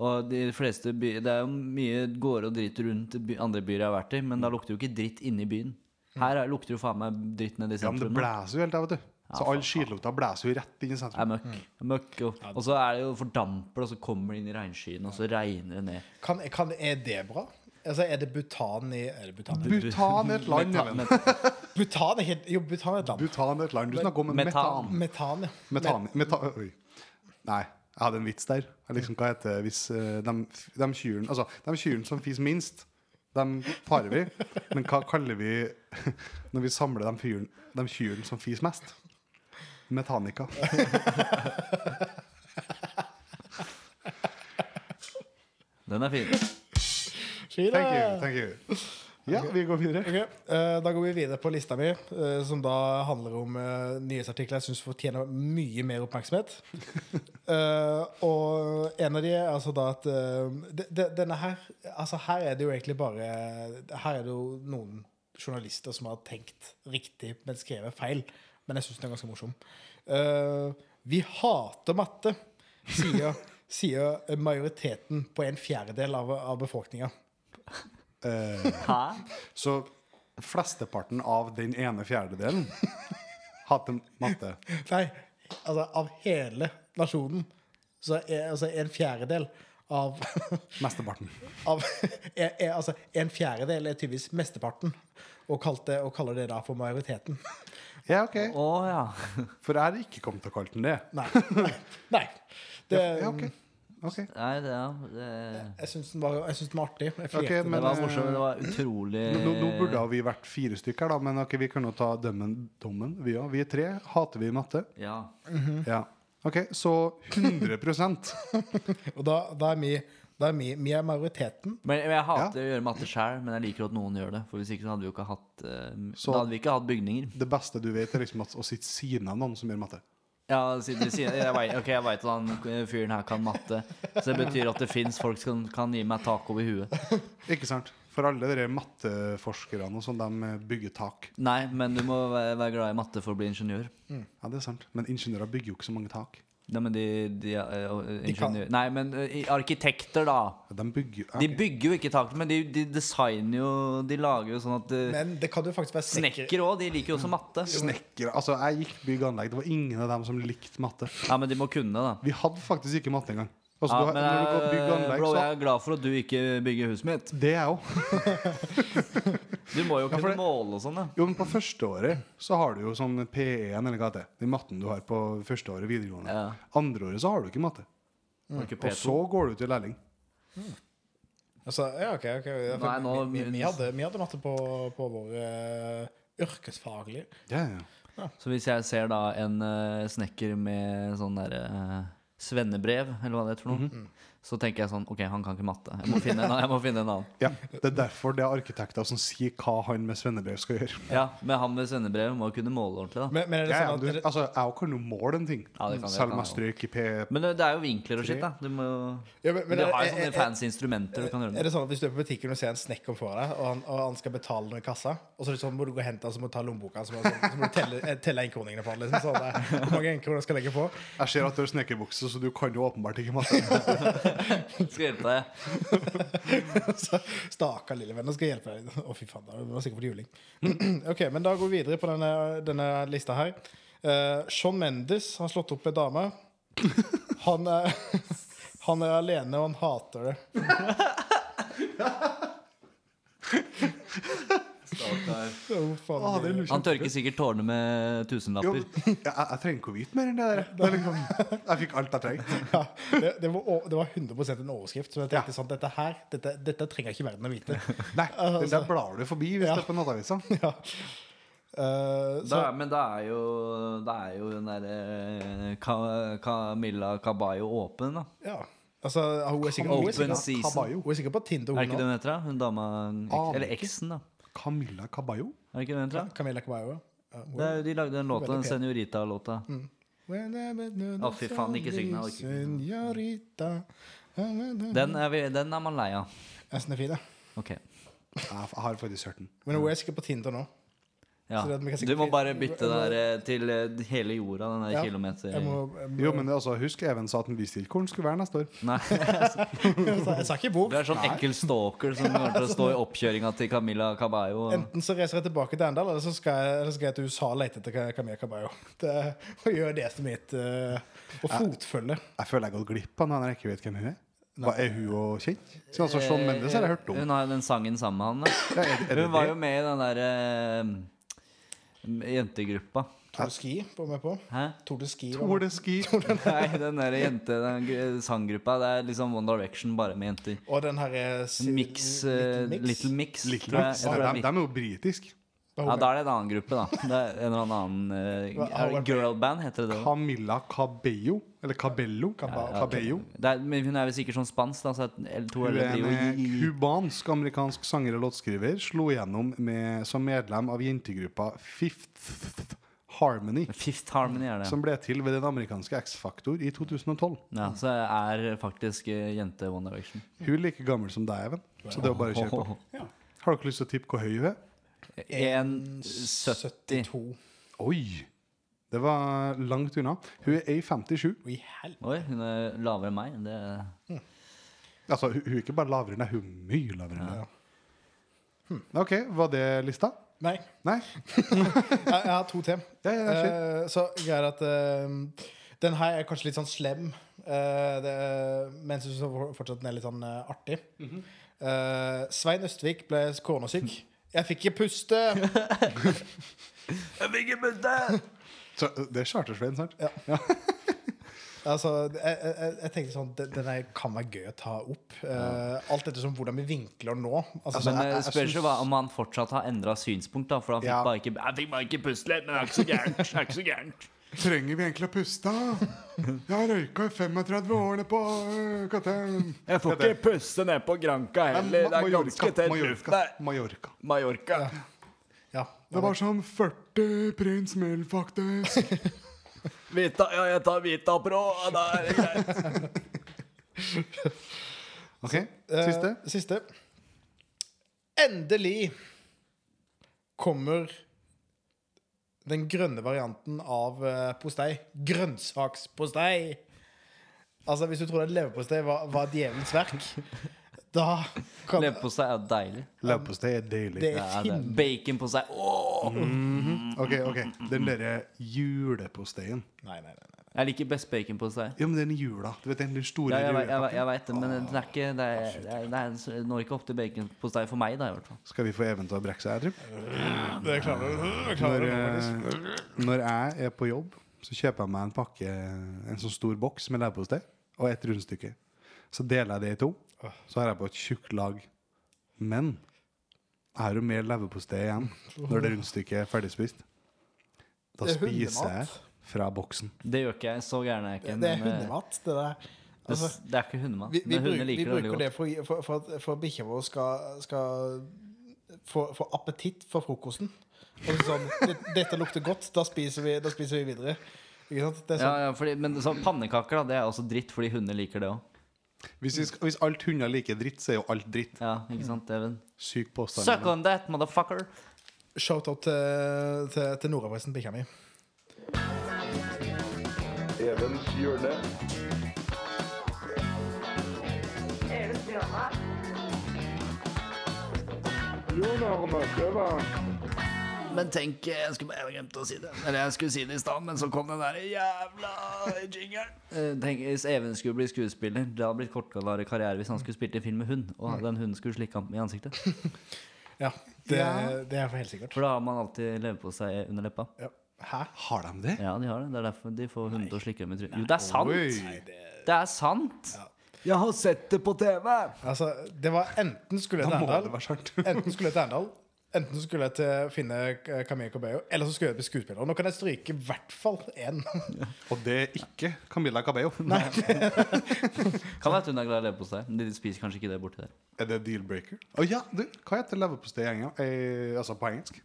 S2: Og de fleste by, Det er jo mye gårder og dritt rundt by, andre byer jeg har vært i, men da lukter jo ikke dritt inni byen. Her er- lukter jo faen meg dritt nede i
S3: Ja, men det
S2: sentrum. nå.
S3: blæser jo helt av, vet du. Så all skitlukta blæser jo rett inn i
S2: Det er
S3: sentrum.
S2: møkk. møkk og, og så er det jo fordamper, og så kommer det inn i regnskyene, og så regner det ned.
S1: Kan, kan, er det bra? Altså, er det Butan i Er det Butan?
S3: Butan er et land,
S2: Meta-
S3: Even.
S2: met-
S1: Butan er helt Jo, Butan er et land.
S3: Butan er et land. Du snakker om
S2: Metan.
S3: metan.
S1: Metan, ja.
S3: Metan, meta, oi. Nei, jeg hadde en vits der. Jeg Liksom, hva heter det hvis eh, de, de kyrne altså, de kyrne som fiser minst, Dem parer vi. Men hva kaller vi når vi samler de, fyren, de kyrne som fiser mest? Metanika.
S2: Den er fin.
S1: Fint,
S3: Thank you.
S1: da.
S3: thank you Ja, vi går videre.
S1: Ok, eh, Da går vi videre på lista mi, eh, som da handler om eh, nyhetsartikler jeg syns fortjener mye mer oppmerksomhet. Eh, og en av de er altså da at eh, de, de, Denne her Altså her er det jo egentlig bare Her er det jo noen journalister som har tenkt riktig, men skrevet feil. Men jeg syns den er ganske morsom. Eh, vi hater matte, sier, sier majoriteten på en fjerdedel av, av befolkninga.
S3: Eh,
S2: Hæ?
S3: så flesteparten av den ene fjerdedelen hater matte.
S1: Nei, altså av hele nasjonen så er altså en fjerdedel av,
S3: Mesteparten.
S1: av er, er, Altså en fjerdedel er tydeligvis mesteparten, og, kalt det, og kaller det da for majoriteten.
S3: Ja, ok.
S2: Å ja.
S3: For jeg har ikke kommet til å kalle den det.
S1: Nei. Nei. nei. Det,
S3: Ja, ok. Ok.
S2: Nei, det, ja. det
S1: Jeg syns den, var- jeg syns den var artig. Jeg
S3: Ok,
S1: flirte.
S2: Det
S3: men, eh,
S2: var morsomt. Det var utrolig
S3: Nå, nå- nå burde vi vært fire stykker, da, men ok, vi kan jo ta dømmen, dommen. Vi, ja. vi er tre. Hater vi matte?
S2: Ja. Mm.
S3: Ja. Ok, så 100
S1: Og da, da er vi da er vi, vi er majoriteten.
S2: Men men jeg hater å gjøre matte sjæl, men jeg liker at noen gjør det. For hvis ikke så hadde vi jo ikke hatt eh,
S3: Så-
S2: Da hadde vi ikke hatt bygninger.
S3: Det beste du vet, er liksom at å sitte siden av noen som gjør matte.
S2: Ja, siden vi sier jeg vet, Ok, jeg veit at han eh, fyren her kan matte, så det betyr at det fins folk som kan gi meg tak over huet.
S3: Ikke sant? For alle de der matteforskerne og sånn, de bygger tak.
S2: Nei, men du må væ- være glad i matte for å bli ingeniør.
S3: Ja, det er sant. Men ingeniører bygger jo ikke så mange tak.
S2: Nei, men de, de, eh, og, eh,
S1: De kan-
S2: ingeniør. Nei, men eh, arkitekter, da.
S3: De bygger ja,
S2: De
S3: ok.
S2: bygger jo ikke tak, men de, de designer jo De lager jo sånn at eh,
S1: Men det kan jo faktisk være snekker.
S2: Snekker òg, de liker jo
S3: Mm.
S2: også matte.
S3: Snekkere Altså, jeg gikk bygg og anlegg. Det var ingen av dem som likte matte.
S2: Ja, men de må kunne, da.
S3: Vi hadde faktisk ikke matte engang. Altså,
S2: Ja,
S3: du har,
S2: men
S3: når du går bygg og
S2: jeg,
S3: anlegg,
S2: bro,
S3: så
S2: jeg er glad for at du ikke bygger huset mitt.
S3: Det er jeg òg.
S2: Du må jo
S3: for
S2: kunne
S3: det-
S2: måle og sånn, ja.
S3: Jo, men på førsteåret så har du jo sånn P1 eller hva det er. Den matten du har på førsteåret videregående.
S2: Ja.
S3: Andreåret så har du ikke matte.
S2: Var ikke
S3: Mm. Og
S2: P2.
S3: så går du til lærling.
S1: Altså, ja, ok, ok. Ja, for
S2: Nei, nå-
S1: vi, vi, vi, hadde, vi hadde matte på, på vår eh, yrkesfaglige.
S3: Ja, ja.
S2: Så hvis jeg ser da en eh, snekker med sånn derre svennebrev, eller hva det heter for
S3: Mhm.
S2: noe,
S3: Mm.
S2: så tenker jeg sånn OK, han kan ikke matte. Jeg må finne en, annen- jeg må finne en annen.
S3: ja. Det er derfor det er arkitekter som sier hva han med svennebrev skal gjøre.
S2: Ja, Men han med svennebrev må jo kunne måle ordentlig, da.
S1: Men, men er det
S3: Ja, ja,
S1: sånn
S3: men
S1: at
S3: du, altså, jeg kan jo måle en ting,
S2: Ja, det kan jeg,
S3: selv om
S2: kan
S3: jeg strøk i P...
S2: Men eh, det det er jo vinkler og shit, da. Du må jo
S1: Ja, men- men
S2: Du
S1: er-
S2: har jo
S1: er- er-
S2: sånne fancy instrumenter du kan gjøre
S1: Er
S2: det
S1: det sånn at Hvis du er på butikken og ser en snekker foran deg, og han, og han skal betale noe i kassa, og så er det sånn, må du gå og hente han, så må du ta lommeboka, så må, du- så må du telle, eh, telle enkroningene for han, liksom, sånn, der. Hvor mange enkroner skal jeg legge på?
S3: Jeg ser at du har snekkerbukse, så du kan jo åpenbart ikke matte.
S2: med. Skal hjelpe deg.
S1: Så Stakkar lille venn, nå skal jeg hjelpe deg. Å, fy faen, da var sikkert fått juling. ok, men da går vi videre på denne, denne lista her. Eh, Shawn Mendes har slått opp med dame. Han er, han er alene, og han hater det. Å, faen,
S3: Å, det er
S2: Han
S3: lusent.
S2: tørker sikkert tårene med
S3: Jo,
S2: tusenlapper.
S3: jeg, jeg, jeg trenger ikke å vite mer enn det der. Det er liksom, jeg fikk alt jeg trengte.
S1: Ja, det, det, var, å- det var 100 en overskrift. Så jeg tenkte sånn, dette her, dette, dette trenger ikke verden å vite.
S3: Nei, det der blar du forbi hvis det er på nattavisa.
S1: Ja. Eh, så,
S2: Da, men da er jo, da er jo den derre Ka, Camilla Caballo åpen, da.
S1: ja. Altså, hun er sikkert, hun er
S2: Open
S1: sikkert,
S2: season.
S3: Caballo.
S1: hun er sikkert på Tinder,
S2: Er det
S1: hun Ah,
S2: ikke det
S1: nå.
S2: hun heter? da? Hun dama
S3: Aner
S2: Eller
S3: ikke.
S2: eksen, da.
S3: Camilla Caballo?
S2: Er det ikke det hun heter? da?
S1: Camilla Caballo. Ja, hun-
S2: Det er jo De lagde den låta, den
S1: Veldig Mm. pen.
S2: Senorita-låta.
S1: When I met
S2: Å,
S1: no-
S2: fy faen, ikke syng den, jeg orker ikke.
S1: Señorita. Den
S2: Den, er vi- den er man lei av.
S1: er fin, ja.
S2: Ok.
S3: Jeg har faktisk hørt den.
S1: Men hun er sikkert på Tinder nå.
S2: Ja.
S1: Så det at vi kan
S2: Du
S1: sikkert-
S2: må bare bytte
S1: Jeg må-
S2: der eh, til eh, hele jorda, den der
S1: Ja,
S2: kilometer...
S1: Jeg, må, jeg, må,
S3: Jo, men altså, husk Even sa at en Bistilkorn skulle være neste år.
S2: Nei,
S1: jeg, sa- jeg sa ikke hvor.
S2: du er sånn ekkel stalker som kommer til å stå i oppkjøringa til Camilla Caballo. og-
S1: Enten så reiser jeg tilbake til Arendal, eller så skal jeg, eller så skal jeg til USA og lete etter Ka- Camilla Caballo. Det, og gjøre det som mitt eh, Og fotfølge.
S3: Jeg føler jeg har gått glipp av noe når jeg ikke vet hvem hun er. Hva er hun å kjent? Så altså, Sean Mendes har jeg hørt om.
S2: Eh, Hun har jo den sangen sammen med han. da.
S3: Ja, er, er det
S2: Hun var jo
S3: det?
S2: med i den derre Jentegruppa.
S1: Tour de Ski var med på.
S2: Hæ?
S1: Tour de Ski var
S3: Tour
S1: med.
S3: de ski.
S2: Nei, den der jente, den gr- sanggruppa, det er liksom One Direction bare med jenter.
S1: Og den herre si-
S2: Mix, eh,
S1: Little Mix.
S2: Little Mix.
S3: Little
S2: tror jeg-
S3: Mix.
S2: jeg tror det
S3: Nei,
S2: er
S3: De
S2: Mix.
S3: de er jo britiske.
S1: Var hun
S2: Ja,
S1: med?
S2: da er det en annen gruppe, da. Det er en eller annen eh,
S1: Hva-
S2: er det girlband, heter det det. også?
S3: Camilla Cabello. Eller Cabello.
S1: Caba-
S3: Cabello.
S2: Det er, men hun er vel sikkert sånn spansk, da, så at- eller to
S3: Hun
S2: eller
S3: er
S2: tre
S3: en
S2: jo-
S3: cubansk-amerikansk sanger og låtskriver. Slo gjennom med, som medlem av jentegruppa Fifth Harmony.
S2: Fifth Harmony er det.
S3: Som ble til ved den amerikanske X-Factor i 2012.
S2: Ja, så er faktisk eh, jente One Direction.
S3: Hun er like gammel som deg, Even. Så det er bare å kjøre på.
S1: Ja.
S3: Har dere lyst til å tippe hvor høy hun er?
S2: 1,70.
S1: 72.
S3: Oi! Det var langt unna. Hun er A57.
S1: Oi, helvete.
S2: Oi, hun er lavere enn meg. Det
S3: Altså, hun hun er ikke bare lavere enn deg, hun er mye lavere enn deg. Hm. OK, var det lista?
S1: Nei.
S3: Nei?
S1: Jeg, jeg har to til.
S3: Ja, ja, ja, shit.
S1: Eh, så greia er at eh, den her er kanskje litt sånn slem, eh, det, men jeg syns fortsatt den er litt sånn eh, artig. Eh, Svein Østvik ble koronasyk. Jeg fikk ikke puste!
S3: Så, det er Chartersveien, sant? Ja.
S1: Altså, jeg, jeg, jeg tenkte sånn Den, den her kan være gøy å ta opp. Eh, alt ettersom hvordan vi vinkler nå.
S2: Men eh,
S1: Altså, sånn-
S2: det
S3: jeg- jeg
S2: spørs jo
S3: syns-
S2: hva- om han fortsatt har endra synspunkt, da. For han fikk
S3: Ja.
S2: bare ikke Jeg fikk bare ikke pusle, men det er ikke så gærent. Det er ikke så gærent.
S3: Trenger vi egentlig å puste? Jeg har røyka i 35 årene på øh, katten.
S2: Jeg får ikke puste ned på Granca heller. Det er ganske tett luft
S3: Mallorca.
S2: der.
S3: Mallorca.
S2: Mallorca.
S1: ja,
S3: Det var som 40 prins Mel, faktisk.
S2: Vita, ja, jeg tar Vita Pro. og Da er det greit.
S3: OK,
S1: Eh,
S3: siste.
S1: siste. Endelig kommer den grønne varianten av eh, postei. Grønnsakspostei. Altså, hvis du tror at leverpostei var, var djevelens verk, da kan
S2: Leverpostei er deilig.
S3: Leverpostei er deilig.
S1: Det
S2: Det
S1: er
S2: er det.
S1: fin.
S2: Bacon på seg. Åh!
S3: Ok, ok, Den derre juleposteien.
S1: Nei, nei, nei. nei.
S2: Jeg liker best bacon på seg.
S3: Ja, men den i jula. Du vet den litt store
S2: Ja, jeg, vet- jeg,
S3: julepakka?
S2: vet- jeg veit det, men det er ikke Det, er, det, er, det, er, det når ikke opp til baconpostei for meg, da, i hvert fall.
S3: Skal vi få Even til å brekke seg, jeg tror?
S1: Det klarer du. Det
S3: Når,
S1: klarer du nå, faktisk.
S3: eh, når jeg er på jobb, så kjøper jeg meg en pakke, en sånn stor boks med leverpostei og et rundstykke. Så deler jeg det i to. Så har jeg på et tjukt lag. Men jeg har jo mer leverpostei igjen når det rundstykket er ferdigspist. Da
S1: Det er
S3: spiser jeg
S1: hundemat.
S3: fra boksen.
S2: Det gjør ikke jeg. Så gæren er jeg ikke.
S1: Det er
S2: men, eh,
S1: hundemat, det der.
S2: det,
S1: Altså,
S2: det er ikke hundemat.
S1: vi, vi,
S2: men
S1: bruker,
S2: hunder
S1: vi
S2: liker det veldig
S1: bruker
S2: godt.
S1: det for, for, for, at- for at bikkja vår skal, skal få, få appetitt for frokosten. Og så sånn, "Det- Dette lukter godt, da spiser vi, da spiser vi videre. Ikke sant? Det er
S2: Ja,
S1: sånn.
S2: ja, fordi, men sånn pannekaker da, det er også dritt, fordi hunder liker det òg.
S3: Hvis, vi skal, hvis alt hunder liker dritt, så er jo alt dritt.
S2: Ja, ikke sant, Even?
S3: Syk påstand.
S2: Suck
S3: Even.
S2: on that, motherfucker!
S1: Shout-out til, til, til Nordreisen, bikkja mi.
S4: Evens hjørne.
S5: Eres drama.
S2: Men tenk, jeg skulle bare glemte å si det. Eller jeg skulle si det i stad, men så kom den der jævla jingeren. Eh, Tenk hvis Even skulle bli skuespiller. Det hadde blitt kortvarig karriere hvis han skulle spilt i en film med hund, og den hunden skulle slikke ham i ansiktet.
S1: Ja, det,
S3: Ja.
S1: det er for helt sikkert.
S2: For da har man alltid levd på seg under leppa.
S1: Ja. Hæ?
S3: Har de det?
S2: Ja, de har det. Det er derfor de får hunder til å slikke dem i trynet. Jo, det er sant!
S3: Oi.
S2: Det er sant! Jeg har sett det på TV!
S1: Altså, det var enten skulle jeg
S3: Da
S1: til
S3: må det
S1: Arendal,
S3: være sant.
S1: enten skulle jeg til Arendal Enten så skulle jeg til finne eh, Camille Cabello, eller så skulle jeg bli skuespiller. Nå kan jeg stryke i hvert fall én.
S3: Og det er ikke Camilla Cabello.
S2: Kan være at hun er glad i leverpostei. men De spiser kanskje ikke det borti der.
S3: Er det deal-breaker? Å ja, du, hva heter leverpostei i England? Eh, altså på engelsk?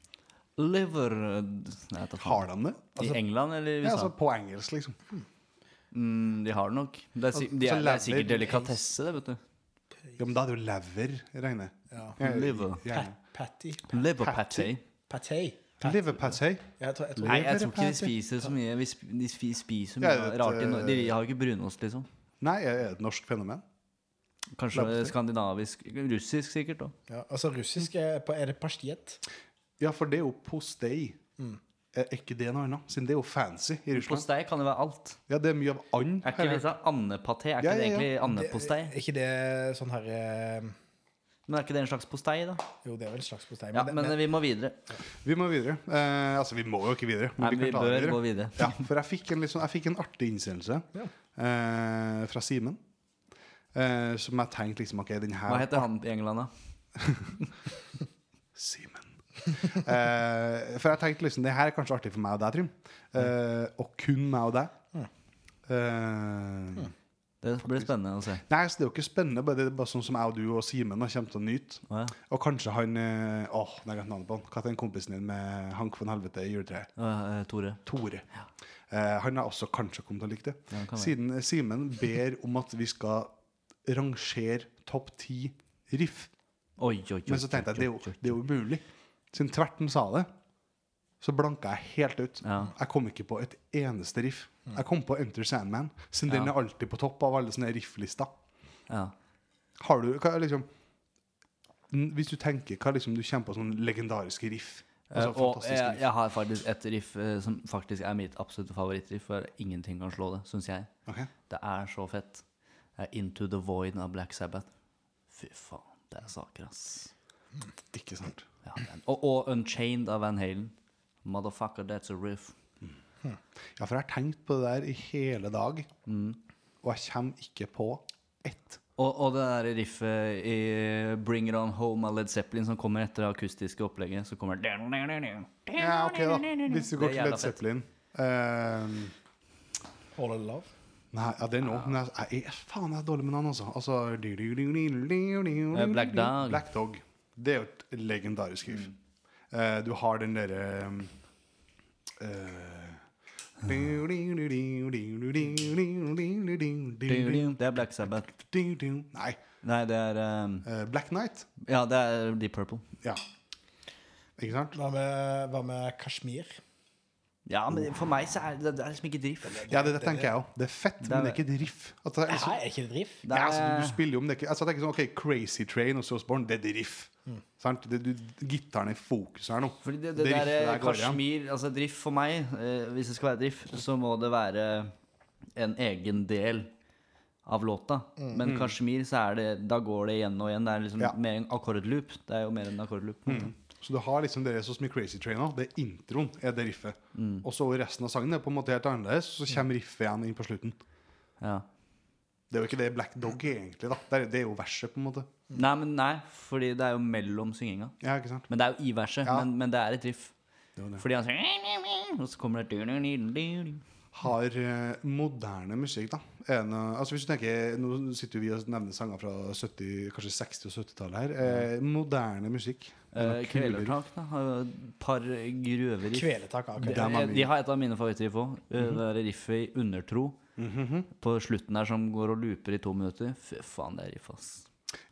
S2: Liver eh, Nei, jeg tar faen.
S3: Har de det?
S2: I England eller i
S3: Ja,
S2: USA?
S3: altså på engelsk, liksom.
S2: mm, de har det nok. Det er, si de
S3: Altså, så
S2: er, det er
S3: lever-
S2: sikkert delikatesse, det, vet du.
S3: Ja, men da er det jo lever, regner
S1: Ja.
S3: jeg.
S2: Liver.
S3: Gjerne.
S1: Patty.
S2: Liver patty.
S1: Patty.
S3: Leverpastei.
S1: Jeg tror, jeg tror
S2: Nei, jeg
S3: Liver
S2: tror ikke de
S3: patty.
S2: spiser så mye. Vi sp- De spi- spiser mye
S3: Jeg vet,
S2: rart i
S3: eh,
S2: Norge. De har jo ikke brunost, liksom.
S3: Nei, er det et norsk fenomen?
S2: Kanskje
S3: leverpastei.
S2: skandinavisk Russisk, sikkert. da
S1: Ja, altså russisk er, på- er det pastjet?
S3: Ja, for det er jo postei.
S2: Mm.
S3: Er ikke det noe annet? Siden det er jo fancy i Russland.
S2: Postei kan jo være alt.
S3: Ja, det er mye av and.
S2: Er ikke
S3: her.
S2: det sånn andepaté? Er
S3: Ja,
S2: ikke det
S3: ja, ja.
S2: egentlig andepostei?
S1: Er ikke det sånn her eh,
S2: Men er ikke det en slags postei, da?
S1: Jo, det er vel en slags postei.
S2: Ja,
S1: Men, det-
S2: men eh,
S1: men,
S2: vi må videre.
S3: Vi må videre. Eh, altså, vi må jo ikke videre. men
S2: Nei, men vi
S3: kan ta det
S2: bør gå videre.
S3: Ja, for jeg fikk en, litt sånn, jeg fikk en artig innsendelse eh, fra Simen. Eh, som jeg tenkte liksom Ok, den her
S2: Hva heter han i England, da?
S3: Simen. Eh, for jeg tenkte liksom det her er kanskje artig for meg og deg, Trym. Eh, og kun meg og deg. Eh,
S2: Det blir spennende å se.
S3: nei, så det er jo ikke spennende, bare det er bare sånn som jeg og du og Simen da kommer til å nyte.
S2: Å, ja.
S3: Og kanskje han eh, Åh, nå har jeg glemt navnet på han. Hva heter den kompisen din med Hank von Helvete i juletreet?
S2: Å, ja, eh, Tore.
S3: Tore. Eh, han har også kanskje kommet til å like det.
S2: Ja, han kan være.
S3: Siden eh, Simen ber om at vi skal rangere topp ti riff.
S2: Oi, oi, oi.
S3: Men så tenkte jeg det er jo, det er jo umulig. Siden Tverten sa det, så blanka jeg helt ut.
S2: Ja. Mm.
S3: Jeg kom ikke på et eneste riff. Jeg kom på Enter Sandman, siden den er alltid på topp av alle sånne riff-lister.
S2: Ja.
S3: Har du hva, er liksom n- Hvis du tenker hva liksom du kommer på sånne legendariske riff
S2: Eh,
S3: altså,
S2: og eh,
S3: fantastiske
S2: jeg,
S3: riff.
S2: jeg har faktisk et riff eh, som faktisk er mitt absolutte favorittriff, for ingenting kan slå det, syns jeg.
S3: Ok.
S2: Det er så fett. Det er Into the Void av Black Sabbath. Fy faen, det er saker, ass.
S3: Ikke sant.
S2: Ja, men- og, og Unchained av Van Halen. Motherfucker, that's a riff.
S3: Ja, for jeg har tenkt på det der i hele dag,
S2: Mm.
S3: og jeg kommer ikke på ett.
S2: Og, og det der riffet i Bring It On Home av Led Zeppelin som kommer etter det akustiske opplegget, så kommer det
S3: Ja, ok da. Hvis du
S2: Det er
S3: går til Led
S2: jævla fett.
S3: Zeppelin eh,
S1: All in love.
S3: Nei, ja, det er nå. Men jeg, jeg er faen jeg er dårlig med navn, altså. altså du, du, du, du, du, du,
S2: Eh, Black
S3: du, du.
S2: Dog.
S3: Black Dog. Det er jo et legendarisk riff.
S2: Mm.
S3: Eh, du har den derre ehm, eh,
S2: Det er Black Sabbath.
S3: Nei.
S2: Nei, det er um,
S3: eh, Black Knight.
S2: Ja, det er Deep Purple.
S3: Ja. Ikke sant?
S1: Hva med, hva med Kashmir?
S2: Ja, men for meg så er det, det er liksom ikke drift.
S3: Ja, det, det tenker jeg òg. Det er fett, men det er ikke et riff. Altså, jeg-
S1: Hæ, er ikke det drift?
S2: Det
S3: Ja,
S2: er,
S3: altså, du- du spiller jo om det ikke altså, det er ikke sånn, ok, Crazy Train og Sauce Born, det er et riff. Sant? Det, du, gitaren er i fokus her nå.
S2: Mm. Fordi det, det,
S3: riffet
S2: der eh,
S3: der går igjen.
S2: Kashmir Altså drift for meg, eh, hvis det skal være drift, så må det være en egen del av låta. Men Kashmir, så er det Da går det igjen og igjen. Det er liksom
S3: Mm. Ja.
S2: mer en akkordloop. Det er jo mer en akkordloop. på en måte.
S3: Så du har liksom det som i Crazy Train òg. Det er introen er det riffet.
S2: Mm.
S3: Og så resten av sangen er på en måte helt annerledes, og så kommer riffet igjen inn på slutten.
S2: Ja.
S3: Det er jo ikke det Black Dog er egentlig, da. Det er, det er jo verset, på en måte.
S2: Nei, men nei, fordi det er jo mellom synginga.
S3: Ja, ikke sant?
S2: Men det er jo i verset.
S3: Ja.
S2: Men, men det er et riff.
S3: Det er jo det.
S2: Fordi han sier Og så kommer det
S3: Har eh, moderne musikk, da. Er det noe, altså hvis du tenker, Nå sitter jo vi og nevner sanger fra 70, kanskje 60- og 70-tallet her. Eh, moderne musikk. Er det
S2: Eh,
S3: noe kule riff?
S2: Kvelertak, da. Har jo et par grøve riff.
S1: Kveletak. ok.
S2: Det,
S3: Den var
S2: jeg-
S3: min.
S2: de har et av mine favorittriff òg. Eh,
S3: Mhm.
S2: Det der riffet i Undertro. På slutten der som går og looper i to minutter. Fy faen, det er riff, ass.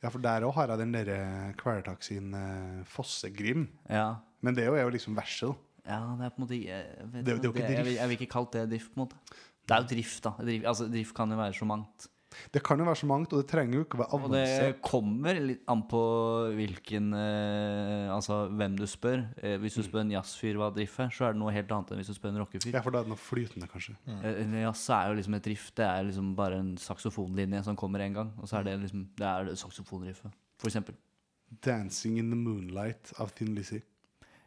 S3: Ja, for der òg har jeg den derre Kvelertak sin eh, Fossegrim.
S2: Ja,
S3: Men det er jo- er jo liksom verset, da.
S2: ja det er på en måte jeg, vet,
S3: Det er jo- det er jo
S2: ikke
S3: ikke
S2: jeg, vil-
S3: drift.
S2: jeg vil ikke kalt det drift, på en måte. Det er jo drift, da. Drift, altså, drift kan jo være så mangt.
S3: Det kan jo være så mangt, og det trenger jo ikke å være
S2: Og det
S3: avansert.
S2: kommer litt an på hvilken eh, Altså hvem du spør. Eh,
S3: Mm.
S2: hvis du spør en jazzfyr hva drift er, så er det noe helt annet enn hvis du spør en rockefyr.
S3: Ja, for da er det noe flytende, kanskje.
S2: Eh, Jazz er jo liksom et riff. Det er liksom bare en saksofonlinje som kommer en gang. Og så er det liksom Det er det saksofonriffet, for eksempel.
S3: 'Dancing in the Moonlight' av Thin Lizzie.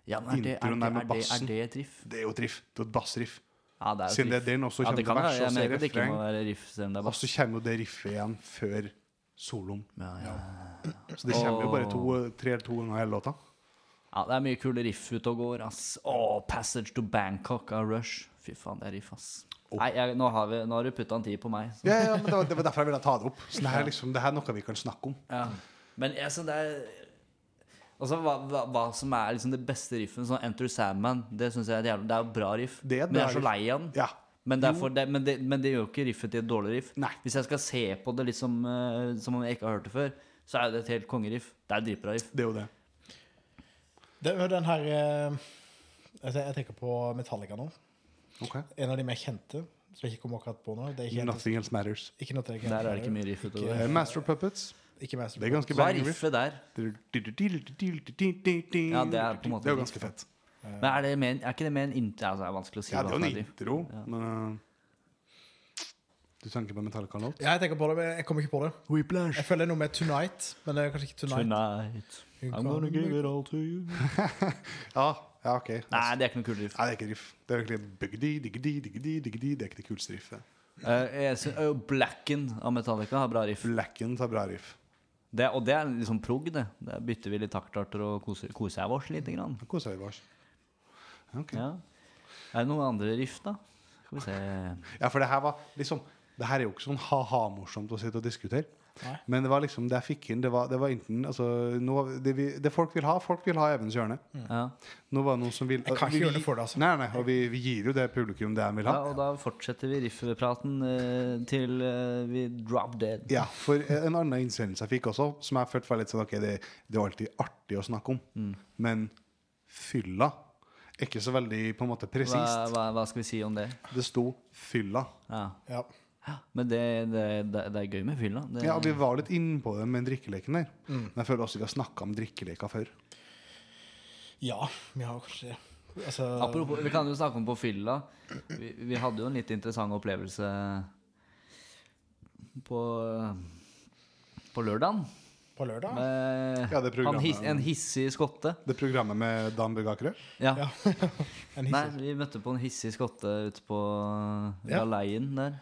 S2: Ja, men er det, er
S3: Introen er
S2: det, er
S3: med
S2: det, er
S3: bassen.
S2: det et riff?
S3: Det er jo et riff. Det er jo et bassriff.
S2: Ja, det er jo et
S3: Siden det
S2: riff.
S3: er den også
S2: ja,
S3: kommer
S2: det
S3: til
S2: kan være.
S3: vers, og
S2: Jeg
S3: så
S2: mener ikke at det ikke
S3: refreng.
S2: må
S3: Altså,
S2: være riff selv om det er
S3: Og
S2: bass.
S3: så kommer jo det riffet igjen før soloen.
S2: Ja, ja.
S3: Så det kommer jo bare
S2: Åh.
S3: to, tre to ganger hele låta.
S2: ja, det er mye kule riff ute og går, ass. Å, 'Passage to Bangkok' av Rush. Fy faen, det er riff, ass. Nei, jeg, nå, har vi, nå har du putta en tid på meg. Så.
S3: Ja, ja, men det var, det var derfor jeg ville ta det opp. Så det her, er liksom, det her er noe vi kan snakke om.
S2: Ja. Men jeg, så det er Altså, hva, hva, hva som er liksom det beste riffen, sånn Enter Sandman, det synes jeg er et jævlig Det er jo bra riff,
S3: Det er et
S2: men jeg
S3: bra
S2: er så
S3: riff.
S2: lei av den.
S3: Ja.
S2: Men, derfor, det, men, det, men det gjør jo ikke riffet til et dårlig riff.
S3: Nei.
S2: Hvis jeg skal se på det litt som, eh, som om jeg ikke har hørt det før, så er jo det et helt kongeriff. Det er et dritbra riff.
S3: Det er jo det.
S1: Det er jo den her eh, altså, Jeg tenker på Metallica nå.
S3: Ok.
S1: En av de mer kjente, som jeg ikke kommer akkurat på nå. Det er ikke,
S3: Nothing else matters.
S1: ikke noe til
S2: Der er det ikke mye riff utover.
S3: Eh, Master of Puppets.
S1: Ikke Master
S3: Det er ganske
S2: Hva er
S3: banging riff.
S2: riffet der?
S3: Ja,
S2: det er på en måte
S3: Det er jo ganske fett.
S2: Men er, det med, en- er ikke det med en int... Altså, det er vanskelig å si.
S3: Ja, det er
S2: hva
S3: jo
S2: som
S3: en
S2: er riff.
S3: intro, men uh, Du tenker på Metallica Låt?
S1: Ja, jeg tenker på det, men jeg kommer ikke på det.
S2: Whiplash.
S1: Jeg føler det er noe med Tonight, men det er kanskje ikke Tonight.
S2: Tonight. I'm gonna give it all to you.
S3: Ja, ja ok. Nei,
S2: Nei, det er ikke noe kul drift.
S3: det er ikke riff. Det er egentlig byggedi, diggedi, diggedi, diggedi. Det er ikke det kuleste riffet.
S2: Eh, jeg synes, eh, Blacken av Metallica har bra riff.
S3: Blacken tar bra riff.
S2: Det, og det er liksom prog, det. Der bytter vi litt taktarter og koser, koser jeg oss lite grann.
S3: Da koser vi oss. Ok.
S2: Ja. Er det noen andre riff, da? Skal vi se
S3: Ja, for det her var liksom Det her er jo ikke sånn ha-ha-morsomt å sitte og diskutere.
S1: Nei.
S3: Men det var liksom det jeg fikk inn. Det var, det var enten altså, noe, av- det, vi, det folk vil ha. Folk vil ha Evens hjørne.
S2: ja.
S3: Nå var det noen som vil
S1: Mm. Jeg kan
S3: vi
S1: ikke gjøre det
S3: gi-
S1: for deg, altså.
S3: Nei, nei, og vi, vi gir jo det publikum det de vil
S2: ja,
S3: ha.
S2: og da fortsetter vi riffpraten eh, til eh, vi drop dead.
S3: Ja, for en annen innsendelse jeg fikk også, som jeg følte var litt sånn Ok, det, det er alltid artig å snakke om,
S1: Mm.
S3: men fylla er ikke så veldig på en måte
S2: Hva,
S3: presist.
S2: hva, hva skal vi si om det?
S3: Det sto 'fylla'.
S2: Ja.
S1: Ja.
S2: Men det, det, det, det er gøy med fylla.
S1: Eh.
S2: Det-
S3: Ja, Vi var litt inne på det med drikkeleken der.
S1: Mm.
S3: Men jeg føler også vi har snakka om drikkeleker før.
S1: ja, vi har kanskje det. Altså,
S2: Apropos, vi kan jo snakke om på fylla. Vi, vi hadde jo en litt interessant opplevelse på, på lørdagen.
S1: på lørdag?
S2: Med
S3: Ja, det
S2: han
S3: programmet.
S2: his, en hissig skotte.
S3: Det programmet med Dan Børge Akerø?
S2: Ja.
S1: Ja. En
S2: Nei,
S1: hisse.
S2: vi møtte på en hissig skotte ute på
S1: Ja.
S2: galeien der.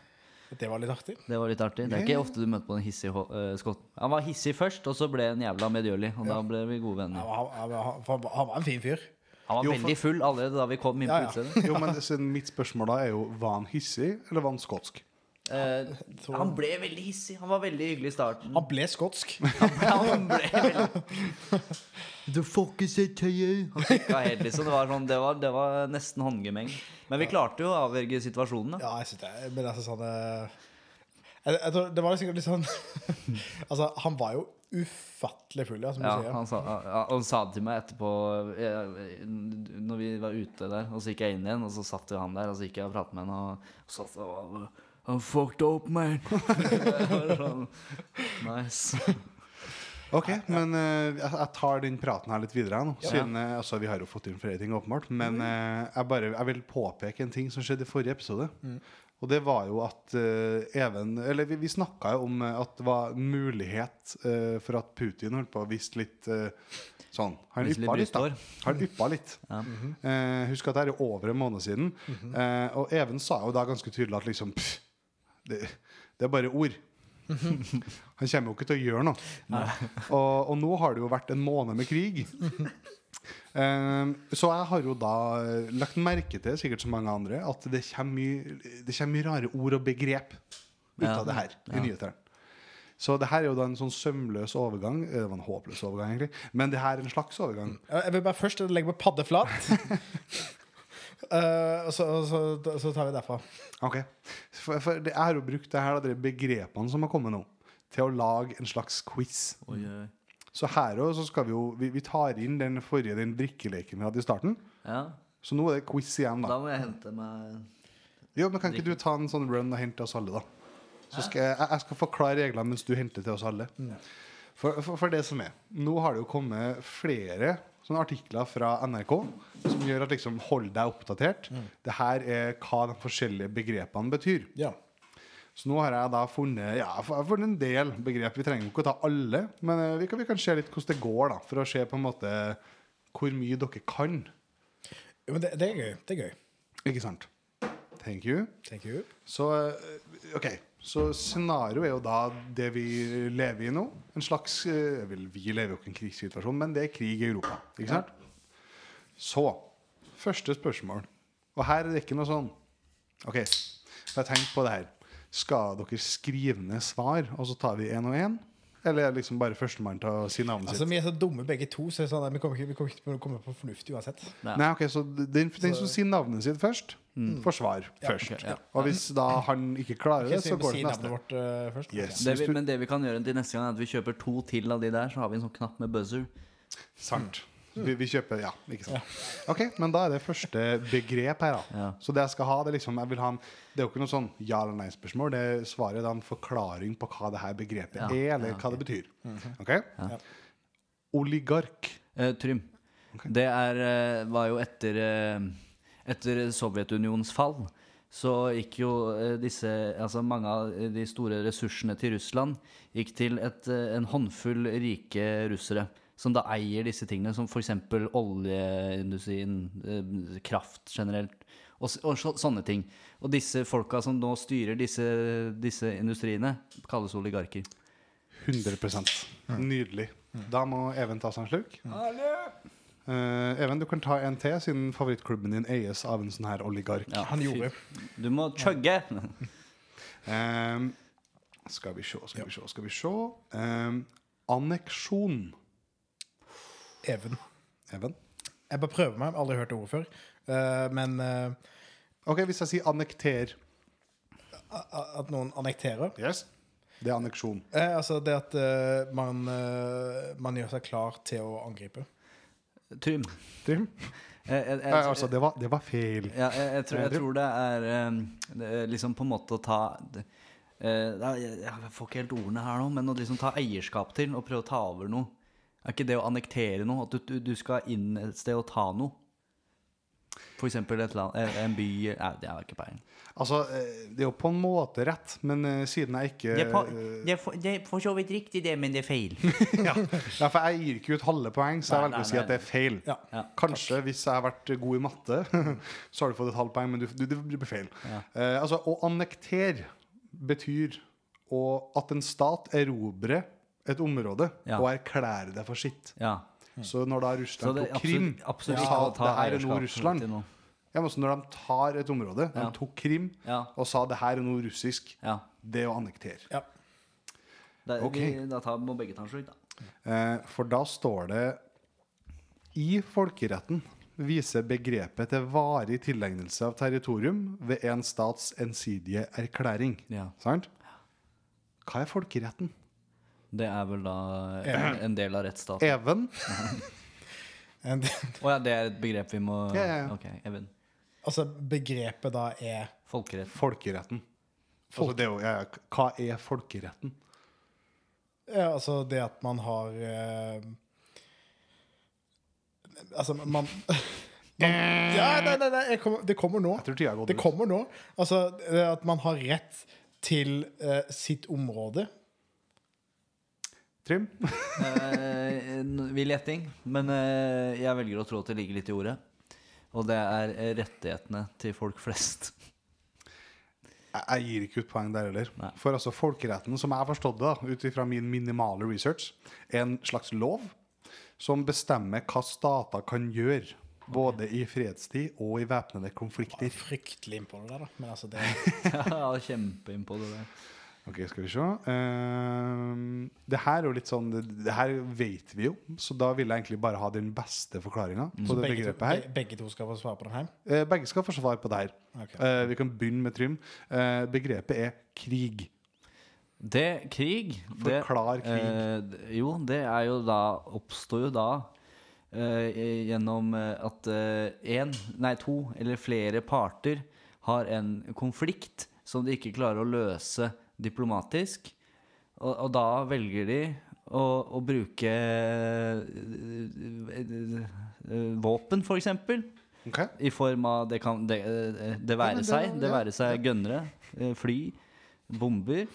S1: Det var litt artig.
S2: Det var litt artig. Det er ikke ofte du møter på en hissig ho- eh, skotte. Han var hissig først, og så ble han jævla medgjørlig. Og da ble vi gode
S1: Han,
S2: venner.
S1: var- han, var- han, var- han var en fin fyr.
S2: Han var
S3: Jo, for-
S2: veldig full allerede da vi kom inn på
S1: Ja, ja.
S2: utstedet.
S3: Jo, men så Mitt spørsmål da er jo var han hissig, eller var han skotsk?
S2: Eh, han ble veldig hissig. Han var veldig hyggelig i starten.
S1: Han ble skotsk.
S2: Han ble Du får ikke se tøyet Han kikka helt liksom det var, sånn, det, var, det var nesten håndgemeng Men vi klarte jo å avverge situasjonen da
S1: Ja, jeg synes det. Men altså sånn eh, jeg, jeg tror Det var sikkert litt sånn Altså, han var jo ufattelig full, ja, som du
S2: ja,
S1: sier.
S2: han sa, ja, han sa det til meg etterpå eh, Når vi var ute der Og så gikk jeg inn igjen Og så satt jo han der Og så gikk jeg og pratet med han Og og satt og var I'm fucked up, man Jeg var sånn, Nice
S3: Ok, men eh, jeg, jeg tar den praten her litt videre. jeg, Nå, siden, eh, altså, vi har jo fått inn flere ting, åpenbart. Men eh, jeg, bare, jeg vil påpeke en ting som skjedde i forrige episode. Og det var jo at eh, Even Eller vi, vi snakka jo om eh, at det var mulighet eh, for at Putin holdt på å vise litt eh, sånn Han
S2: Vise litt
S3: yppa litt, da.
S2: brystår.
S3: Han yppa litt. Eh, husk at det her er over en måned siden.
S2: Mhm.
S3: eh, og Even sa jo da ganske tydelig at liksom pff, det, det er bare ord.
S2: Mhm.
S3: Han kommer jo ikke til å gjøre noe. Og, og nå har det jo vært en måned med krig.
S2: Mhm.
S3: Ehm, så jeg har jo da eh, lagt merke til, sikkert som mange andre, at det kommer mye, det kommer mye rare ord og begrep ut
S2: Ja.
S3: av det her i nyhetene. Så det her er jo da en sånn sømløs overgang. Eh, Det var en håpløs overgang, egentlig. Men det her er en slags overgang.
S1: Ja, Jeg vil bare først legge meg paddeflat. Eh, og så, og så, så tar vi derfra.
S3: Ok. For, for det er jo brukt det her, da, de begrepene som har kommet nå, til å lage en slags quiz.
S2: Oi, oi, oi.
S3: Så her også så skal vi jo Vi, vi tar inn den forrige den drikkeleken vi hadde i starten.
S2: Ja,
S3: Så nå er det quiz igjen, da.
S2: da må jeg hente meg
S3: Jo, men Kan ikke du ta en sånn run og hente til oss alle, da? Så skal jeg, jeg skal forklare reglene mens du henter til oss alle. For, for, for det som er Nå har det jo kommet flere sånne artikler fra NRK som gjør at liksom hold deg oppdatert. Det her er hva de forskjellige begrepene betyr.
S1: Ja.
S3: Så nå har jeg da funnet Ja, jeg har funnet en del begrep. Vi trenger jo ikke å ta alle, men eh, vi kan, vi kan se litt hvordan det går, da. For å se på en måte hvor mye dere kan.
S1: Jo, men det, det er gøy. Det er gøy.
S3: Ikke sant? Thank you.
S1: Thank you.
S3: Så eh, OK. Så scenario er jo da det vi lever i nå. En slags eh, vel, Vi lever jo ikke i en krigssituasjon, men det er krig i Europa. Ikke sant? Så Første spørsmål. Og her er det ikke noe sånn OK, for jeg tenkte på det her. Skal dere skrive ned svar, og så tar vi én og én? Eller er det liksom bare førstemann til å si navnet
S1: Altså,
S3: sitt?
S1: Vi er så dumme begge to, så det er sånn, at vi kommer ikke, vi kommer ikke til å komme på fornuft uansett.
S2: ja.
S3: Nei, ok, så Den, den som sier navnet sitt først, får svar først.
S2: ok, ja.
S3: Og hvis da han ikke klarer
S1: Ok,
S3: det, så
S1: så vi må
S3: går det
S1: si
S3: til neste.
S1: navnet vårt eh, først.
S3: Yes.
S2: det vi,
S3: Hvis du-
S2: men det vi kan gjøre til neste gang, er at vi kjøper to til av de der. Så har vi en sånn knapp med buzzer.
S3: Sant.
S2: Mm.
S3: Vi, vi kjøper Ja, ikke sant. Ok, Men da er det første begrep her, da.
S2: Ja.
S3: Så det jeg skal ha, det er liksom jeg vil ha en, Det er jo ikke noe sånn ja eller nei-spørsmål. Det er svaret er da en forklaring på hva det her begrepet
S2: Ja, Mhm.
S3: er, eller hva det betyr. Ok?
S1: Ja.
S3: Oligark.
S2: Eh, Trym. Det er, eh, var jo etter, eh, etter Sovjetunionens fall. så gikk jo eh, disse, altså mange av de store ressursene til Russland gikk til et, eh, en håndfull rike russere. Som da eier disse tingene, som f.eks. oljeindustrien, eh, kraft generelt, og, s- og så, sånne ting. Og disse folka som nå styrer disse, disse industriene, kalles oligarker.
S3: 100
S2: Mm.
S3: Nydelig. Da må Even ta seg en slurk. Eh, Even, du kan ta en til, siden favorittklubben din eies av en sånn her oligark.
S2: Ja,
S1: Han
S2: fy-
S1: gjorde.
S2: Du må chugge!
S3: Ehm, skal vi se, skal vi se, skal vi se. Ehm, anneksjon.
S1: Even.
S3: Even?
S1: Jeg bare prøver meg. Jeg har Aldri hørt ordet før. Eh, men eh,
S3: OK, hvis jeg sier annekter.
S1: a- at noen annekterer
S3: Yes. Det er anneksjon.
S1: eh, Altså det at eh, man, eh, man gjør seg klar til å angripe.
S2: Trym.
S3: Trym?
S2: Eh, eh, eh,
S3: Eh, altså, det var, det var feil.
S2: Ja, jeg, jeg, tror, jeg
S3: Trym.
S2: tror det er eh, det er liksom på en måte å ta det- eh, da- jeg, jeg får ikke helt ordene her nå, men å liksom ta eierskap til og prøve å ta over noe. Er ikke det å annektere noe? At du, du, du skal inn et sted og ta noe? For eksempel et land, eh, en by Nei, det har jeg ikke peiling.
S3: Altså, eh, det er jo på en måte rett, men eh, siden jeg ikke eh,
S2: er for så vidt riktig, det, men det er feil.
S3: ja. ja, for jeg gir ikke ut halve poeng, så jeg
S2: Nei,
S3: velger å si
S2: nei,
S3: at det er feil.
S1: Ja.
S2: Ja,
S3: Kanskje hvis jeg har vært god i matte, så har du fått et halvt poeng, men du, du, det blir feil. Eh, altså, å annektere betyr å, at en stat erobrer et område
S2: Ja.
S3: og erklærer det for sitt.
S2: ja.
S3: Så når da
S2: Så
S3: Russland
S2: det er
S3: tok Krim
S2: absolutt, absolutt
S3: og
S2: ikke
S3: sa
S2: å
S3: at
S2: ta
S3: det her er
S2: eierskap
S3: Nord-Russland
S2: til noe.
S3: ja, men så Når de tar et område, de
S2: Ja.
S3: tok Krim,
S2: Ja,
S3: og sa det her er noe russisk,
S2: ja.
S3: det er å annektere.
S1: Ja.
S2: Da,
S3: Ok.
S2: vi, da tar, må begge ta en slutt, da.
S3: Eh, For da står det I folkeretten viser begrepet til varig tilegnelse av territorium ved en stats ensidige erklæring.
S2: Ja.
S3: Sant? Hva er folkeretten?
S2: Det er vel da en, en del av rettsstaten.
S3: Even?
S1: En-
S2: Å ja, det er et begrep vi må
S3: Ja, ja, ja.
S2: Ok, Even.
S1: altså begrepet da er
S2: Folkerett.
S3: Folkeretten. Altså, det er jo, ja, ja, hva er folkeretten?
S1: ja, Altså det at man har eh, Altså man, man Ja, nei, nei, nei jeg kommer, det kommer nå.
S3: Jeg tror tida har gått
S1: Det kommer nå. Altså, det at man har rett til eh, sitt område.
S3: ut. Trym?
S2: Eh, n- Vill gjetting, men eh, jeg velger å tro at det ligger litt i ordet. Og det er eh, rettighetene til folk flest.
S3: Jeg jeg gir ikke ut poeng der heller.
S2: Nei.
S3: For altså folkeretten, som jeg har forstått det, da, ut ifra min minimale research, er en slags lov som bestemmer hva stater kan gjøre. Både i fredstid og i væpnede konflikter.
S1: Fryktelig innpå det der, da. Men altså, det
S2: ja, kjempe inn på det der.
S3: Ok, skal vi se. Ehm, det her er jo litt sånn Det her vet vi jo, så da vil jeg egentlig bare ha den beste forklaringa på det
S1: begge to,
S3: begrepet her.
S1: be- begge to skal få svare på den her.
S3: Eh, Begge skal få svar på det her.
S1: Ok.
S3: Eh, vi kan begynne med Trym. Eh, begrepet er krig.
S2: Det, krig det-
S3: Forklar krig.
S2: eh, d- jo, det er jo da Oppstår jo da eh, i- gjennom eh, at én, nei to eller flere parter har en konflikt som de ikke klarer å løse diplomatisk. Og, og da velger de å, å bruke eh, eh, eh, våpen, for eksempel.
S3: Ok?
S2: I form av Det, kan, det, eh, det
S3: men
S2: være
S3: det-
S2: seg. Det
S3: ja,
S2: være seg gønnere, eh, fly, bomber.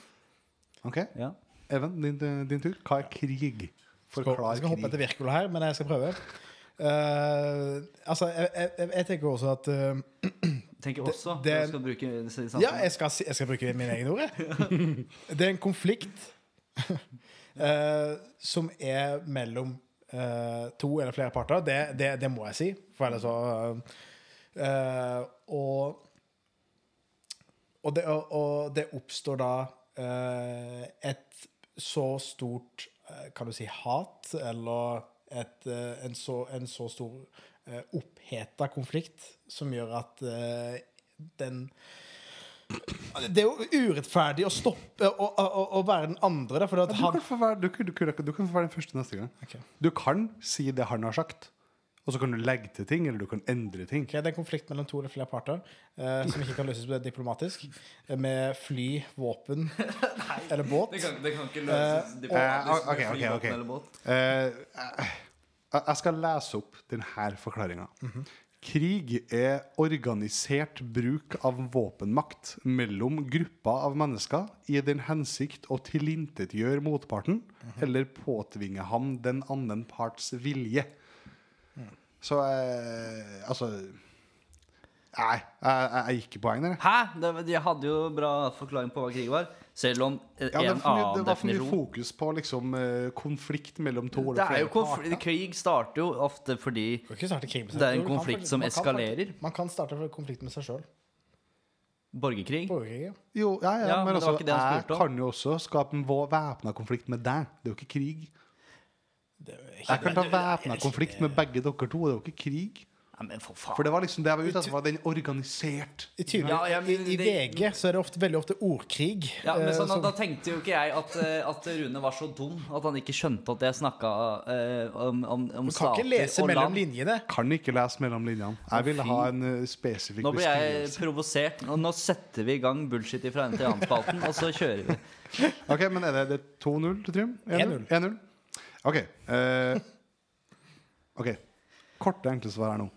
S3: Ok,
S2: Ja.
S3: Even, din, din tur. Hva er krig?
S1: Skal,
S3: Forklar
S1: jeg skal hoppe
S3: krig.
S1: etter Wirkola her, men jeg skal prøve. Eh, altså, jeg, jeg, jeg- jeg tenker også at eh,
S2: Tenker også
S1: det-
S2: at du skal bruke det i samfunnet.
S1: Ja, jeg skal, si- jeg skal bruke min egen ord. jeg. Det er en konflikt eh, som er mellom eh, to eller flere parter. Det, det, det må jeg si, for ellers så eh, eh, Og og det, og, og det oppstår da eh, et så stort eh, Kan du si hat? Eller et, eh, en, så, en så stor eh, oppheta konflikt som gjør at eh, den det er jo urettferdig å stoppe å, å, å, å være den andre. Der, for at
S3: Du
S1: han,
S3: kan, få være, du, kan- du, kan- du kan få være den første neste gang.
S1: Ok.
S3: Du kan si det han har sagt, og så kan du legge til ting, eller du kan endre ting.
S1: Ok, det er en konflikt mellom to eller flere parter eh, som ikke kan løses diplomatisk. eh, Med fly, våpen eller båt.
S2: ikke
S1: løses
S2: løses
S3: Eh,
S2: liksom
S3: ok, ok, ok.
S2: Mhm.
S3: Eh, jeg- jeg skal lese opp denne forklaringa. Krig er organisert bruk av våpenmakt mellom grupper av mennesker i den hensikt å tilintetgjøre motparten
S2: Mhm.
S3: eller påtvinge ham den annen parts vilje.
S2: Mm.
S3: Så eh, altså Nei, jeg, jeg, jeg gikk i poeng der. jeg.
S2: Hæ?! Det, jeg hadde jo bra forklaring på hva krig var, selv om eh,
S3: Ja, det, var
S2: en
S3: for mye, det
S2: annen
S3: var for mye
S2: definisjon
S3: fokus på liksom, eh, konflikt mellom to
S2: det
S3: eller
S2: er jo
S3: flere
S2: konfl
S3: parter.
S2: Krig starter jo ofte fordi
S1: Du kan ikke starte krig med seg
S2: Det er en
S1: selv. Du kan
S2: konflikt
S1: faktisk-
S2: som
S1: man kan
S2: eskalerer.
S1: faktisk- Man kan starte en konflikt med seg sjøl.
S2: borgerkrig
S1: Borgerkrig. ja.
S3: Jo, ja, ja,
S2: Ja, men
S3: men,
S2: det var
S3: altså,
S2: ikke det han
S3: jeg
S2: spurte om.
S3: kan jo også skape en væpna konflikt med deg. Det er jo ikke krig. Jeg kan ta væpna konflikt med begge dere to. Det er jo ikke krig.
S2: Nei, men for faen.
S3: For det var liksom det jeg var ute etter. var Den organisert.
S1: I, tydelig,
S2: Ja, ja, men
S1: i, I
S2: det-
S1: VG så er det ofte, veldig ofte ordkrig.
S2: Ja, men
S1: eh,
S2: sånn,
S1: som-
S2: Da tenkte jo ikke jeg at, eh, at Rune var så dum at han ikke skjønte at jeg snakka eh, om, om, om
S1: du kan
S2: stater
S1: ikke lese
S2: og
S1: mellom
S2: land.
S1: linjene.
S3: Kan ikke lese mellom linjene. Jeg ville ha en eh, spesifikk
S2: Nå blir jeg
S3: beskrivelse.
S2: provosert. Og nå setter vi i gang bullshit ifra en til annen-spalten, og så kjører vi.
S3: Ok, men er det, det er 2-0 til Trym? 1-0? 1-0. Ok. eh, ok. Korte, enkle svar her nå.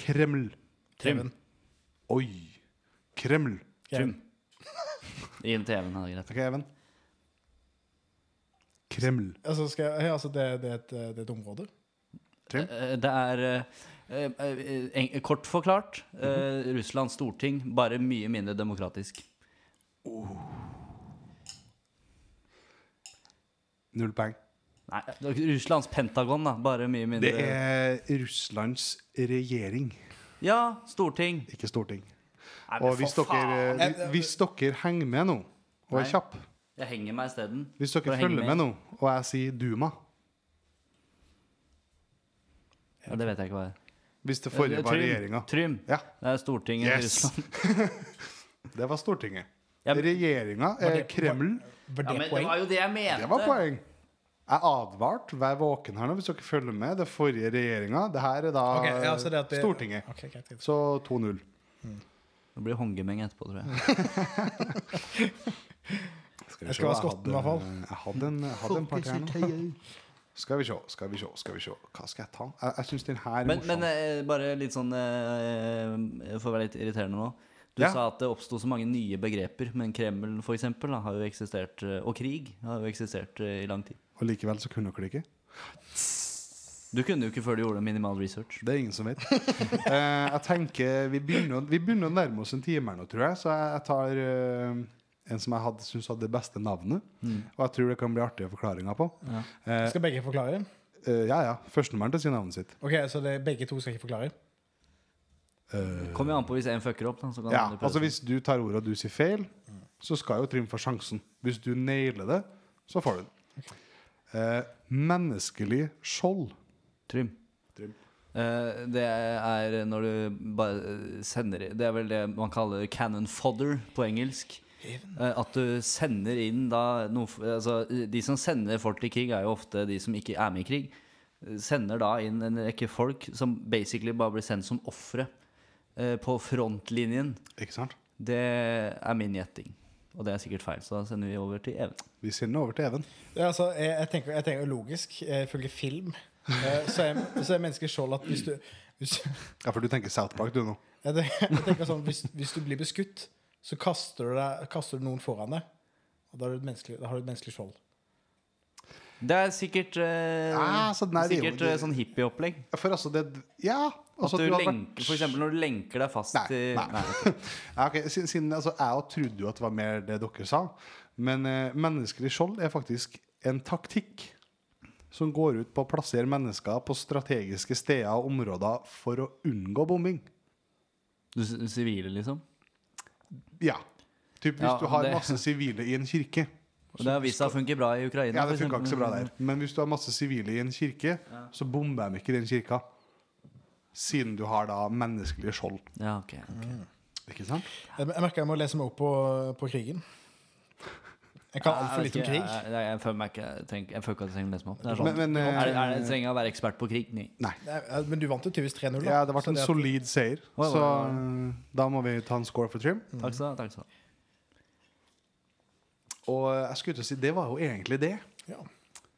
S3: Kreml.
S1: Trym.
S3: Oi. Kreml.
S1: Trym.
S2: Inn til Even. Ja, greit.
S3: Ok, Even. Kreml.
S1: Altså, skal jeg, ja, altså det, det, er et, eh, det er et område.
S2: Eh, Det er eh, eh, en- Kort forklart eh,
S3: Mhm.
S2: Russlands storting, bare mye mindre demokratisk.
S3: Null poeng.
S2: Nei, Russlands Pentagon, da. Bare mye mindre
S3: Det er Russlands regjering,
S2: Ja, storting.
S3: ikke storting.
S2: Nei, men
S3: Og hvis
S2: for
S3: dere,
S2: faen.
S3: hvis- hvis dere henger med nå, og er
S2: Nei.
S3: kjapp
S2: Jeg henger meg isteden.
S3: Hvis
S2: for
S3: dere
S2: å henge
S3: følger med nå, og jeg sier Duma
S2: Ja, det vet jeg ikke hva er.
S3: Hvis det forrige var
S2: Trym.
S3: regjeringa.
S2: Trym.
S3: Ja.
S2: Det er Stortinget i
S3: Yes.
S2: Russland.
S3: Det var Stortinget.
S2: Ja, men-
S3: Regjeringa er Eh, Kreml.
S1: Var
S2: Ja, men
S1: det
S2: det
S1: poeng?
S2: var jo det jeg mente.
S3: Det var poeng. Jeg advarte. Vær våken her nå hvis dere følger med. Det er forrige regjeringa. Det her er da
S1: Ok, ja, så det at det-
S3: Stortinget.
S1: Ok, greit, greit.
S3: Så 2-0.
S2: Det blir håndgemeng etterpå, tror jeg.
S1: Jeg skal være skotten, i hvert fall.
S3: Jeg hadde en, jeg hadde en part her nå. Skal vi se, skal vi se, skal vi se. Hva skal jeg ta? Jeg, jeg syns den her er
S2: Men,
S3: morsom.
S2: men eh, bare litt sånn eh, For å være litt irriterende nå. Du
S3: Ja.
S2: sa at det oppsto så mange nye begreper, men Kreml for eksempel, da, har jo eksistert, eh, og krig har jo eksistert eh, i lang tid.
S3: Og likevel så kunne dere det ikke.
S2: Du kunne jo ikke før du gjorde minimal research.
S3: Det er ingen som vet. Eh, jeg tenker Vi begynner, vi begynner å nærme oss en time her nå, tror jeg. Så jeg, jeg tar eh, en som jeg hadde, syns hadde det beste navnet.
S2: Mm.
S3: Og jeg tror det kan bli artige forklaringer på. Ja eh,
S1: Skal begge forklare?
S3: eh, ja. ja. Førstemann til å si navnet sitt.
S1: Ok, Så det, begge to skal ikke forklare?
S3: Eh,
S2: Kommer jo an på hvis en fucker opp. Da, så kan
S3: ja,
S2: andre prøve
S3: altså
S2: seg.
S3: Hvis du tar ordet og du sier feil, så skal jo Trym få sjansen. Hvis du nailer det, så får du den. Eh, menneskelig skjold.
S2: Trym.
S3: Trym.
S2: Eh, det er når du bare sender Det er vel det man kaller cannon fodder på engelsk. Eh, at du sender inn da noe f- altså, De som sender folk til krig, er jo ofte de som ikke er med i krig. Eh, Sender da inn en rekke folk som basically bare blir sendt som ofre eh, på frontlinjen.
S3: Ikke sant?
S2: Det er min gjetting. Og det er sikkert feil, så da sender vi over til Even.
S3: Vi sender over til Even.
S1: Ja, altså, jeg, jeg, tenker, jeg tenker logisk, eh, ifølge film, eh, så er, så er mennesket skjold at hvis du hvis,
S3: Ja, For du tenker South Park, du nå.
S1: jeg, tenker, jeg tenker sånn, hvis, hvis du blir beskutt, så kaster du, deg, kaster du noen foran deg. Og da har du et menneskelig, da har du et menneskelig skjold.
S2: Det er sikkert, eh,
S3: Ah, så nei, det er jo-
S2: sikkert eh, sånn hippieopplegg.
S3: Ja, For altså, det Ja!
S2: At
S3: Altså,
S2: du
S3: du hadde vært-
S2: lenker, for eksempel når du lenker deg fast
S3: Nei,
S2: til
S3: nei. Ja, ok, siden, siden altså, Jeg også trodde jo at det var mer det dere sa. Men eh, menneskelig skjold er faktisk en taktikk som går ut på å plassere mennesker på strategiske steder og områder for å unngå bombing.
S2: Du s- sivile, liksom?
S3: Ja. Typ hvis
S2: Ja,
S3: du har
S2: det-
S3: masse sivile i en kirke.
S2: Og det har vist seg å funke bra i Ukraina.
S3: Ja, det
S2: for
S3: funka ikke så bra
S2: eksempel.
S3: der. Men hvis du har masse sivile i en kirke, så bomber de ikke den kirka. Siden du har da menneskelig skjold.
S2: Ja, ok, ok.
S3: Ikke sant?
S1: Jeg, jeg merker jeg må lese meg opp på, på krigen. Jeg kan altfor
S2: Jeg vet
S1: litt om
S2: ikke,
S1: krig.
S2: Jeg, jeg, jeg føler meg ikke jeg, trenger, jeg føler ikke at jeg trenger å lese meg opp. Det er sånn.
S3: Men, men eh,
S2: er, det- er, det- trenger jeg å være ekspert på krig? Nei.
S3: Nei.
S1: Nei, eh, Men du vant jo tydeligvis 3-0. da.
S3: Ja, det ble
S1: Så
S3: en
S1: at-
S3: solid seier.
S2: Oi, oi,
S3: Så
S2: oi.
S3: eh, da må vi ta en score for Trym.
S1: Mm.
S2: Takk skal du ha. takk skal du ha.
S3: Og jeg skulle til å si, det var jo egentlig det.
S1: Ja.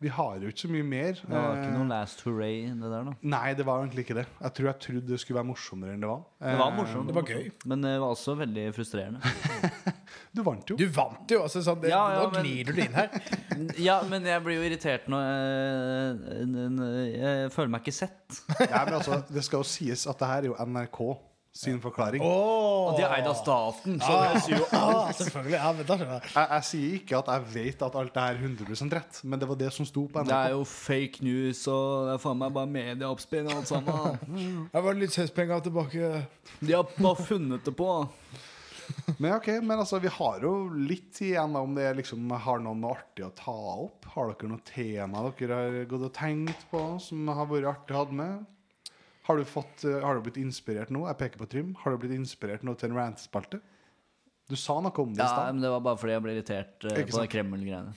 S3: Vi har jo ikke så mye mer.
S2: Det var ikke
S3: Eh,
S2: noe last hooray, det der, da.
S3: Nei, det var egentlig ikke det. Jeg tror jeg trodde det skulle være morsommere enn det var.
S2: Det var morsomt.
S1: Det var gøy.
S2: Men det var også veldig frustrerende.
S3: Eh, Du vant jo.
S1: Du vant jo! Altså, sånn, det,
S2: Ja, ja,
S1: nå
S2: men-
S1: gnir du det inn her.
S2: Ja, men jeg blir jo irritert når jeg, n- n- jeg føler meg ikke sett.
S3: Ja, men altså, det skal jo sies at det her er jo NRK sin forklaring.
S1: Oh,
S2: Og de er eid av staten, så det sier jo
S1: ah, selvfølgelig. Ja, men da skjønner jeg.
S3: Jeg, jeg sier ikke at jeg vet at alt det her er 100 rett, men det var det som sto på
S2: Det er
S3: NRK.
S2: jo fake news, og det er faen meg bare medieoppspinn og alt sammen.
S1: Jeg var litt søspenger tilbake.
S2: De har bare funnet det på.
S3: Men ok, men altså, vi har jo litt igjen da, om det liksom har noen artig å ta opp. Har dere noe tema dere har gått og tenkt på som har vært artig å ha med? Har du, fått, eh, har du blitt inspirert nå? Jeg peker på Trym. Har du blitt inspirert nå til en rantspalte? Du sa noe om det i
S2: Ja,
S3: stad.
S2: men Det var bare fordi jeg ble irritert eh,
S3: Ikke
S2: på
S3: sant?
S2: de Kreml-greiene.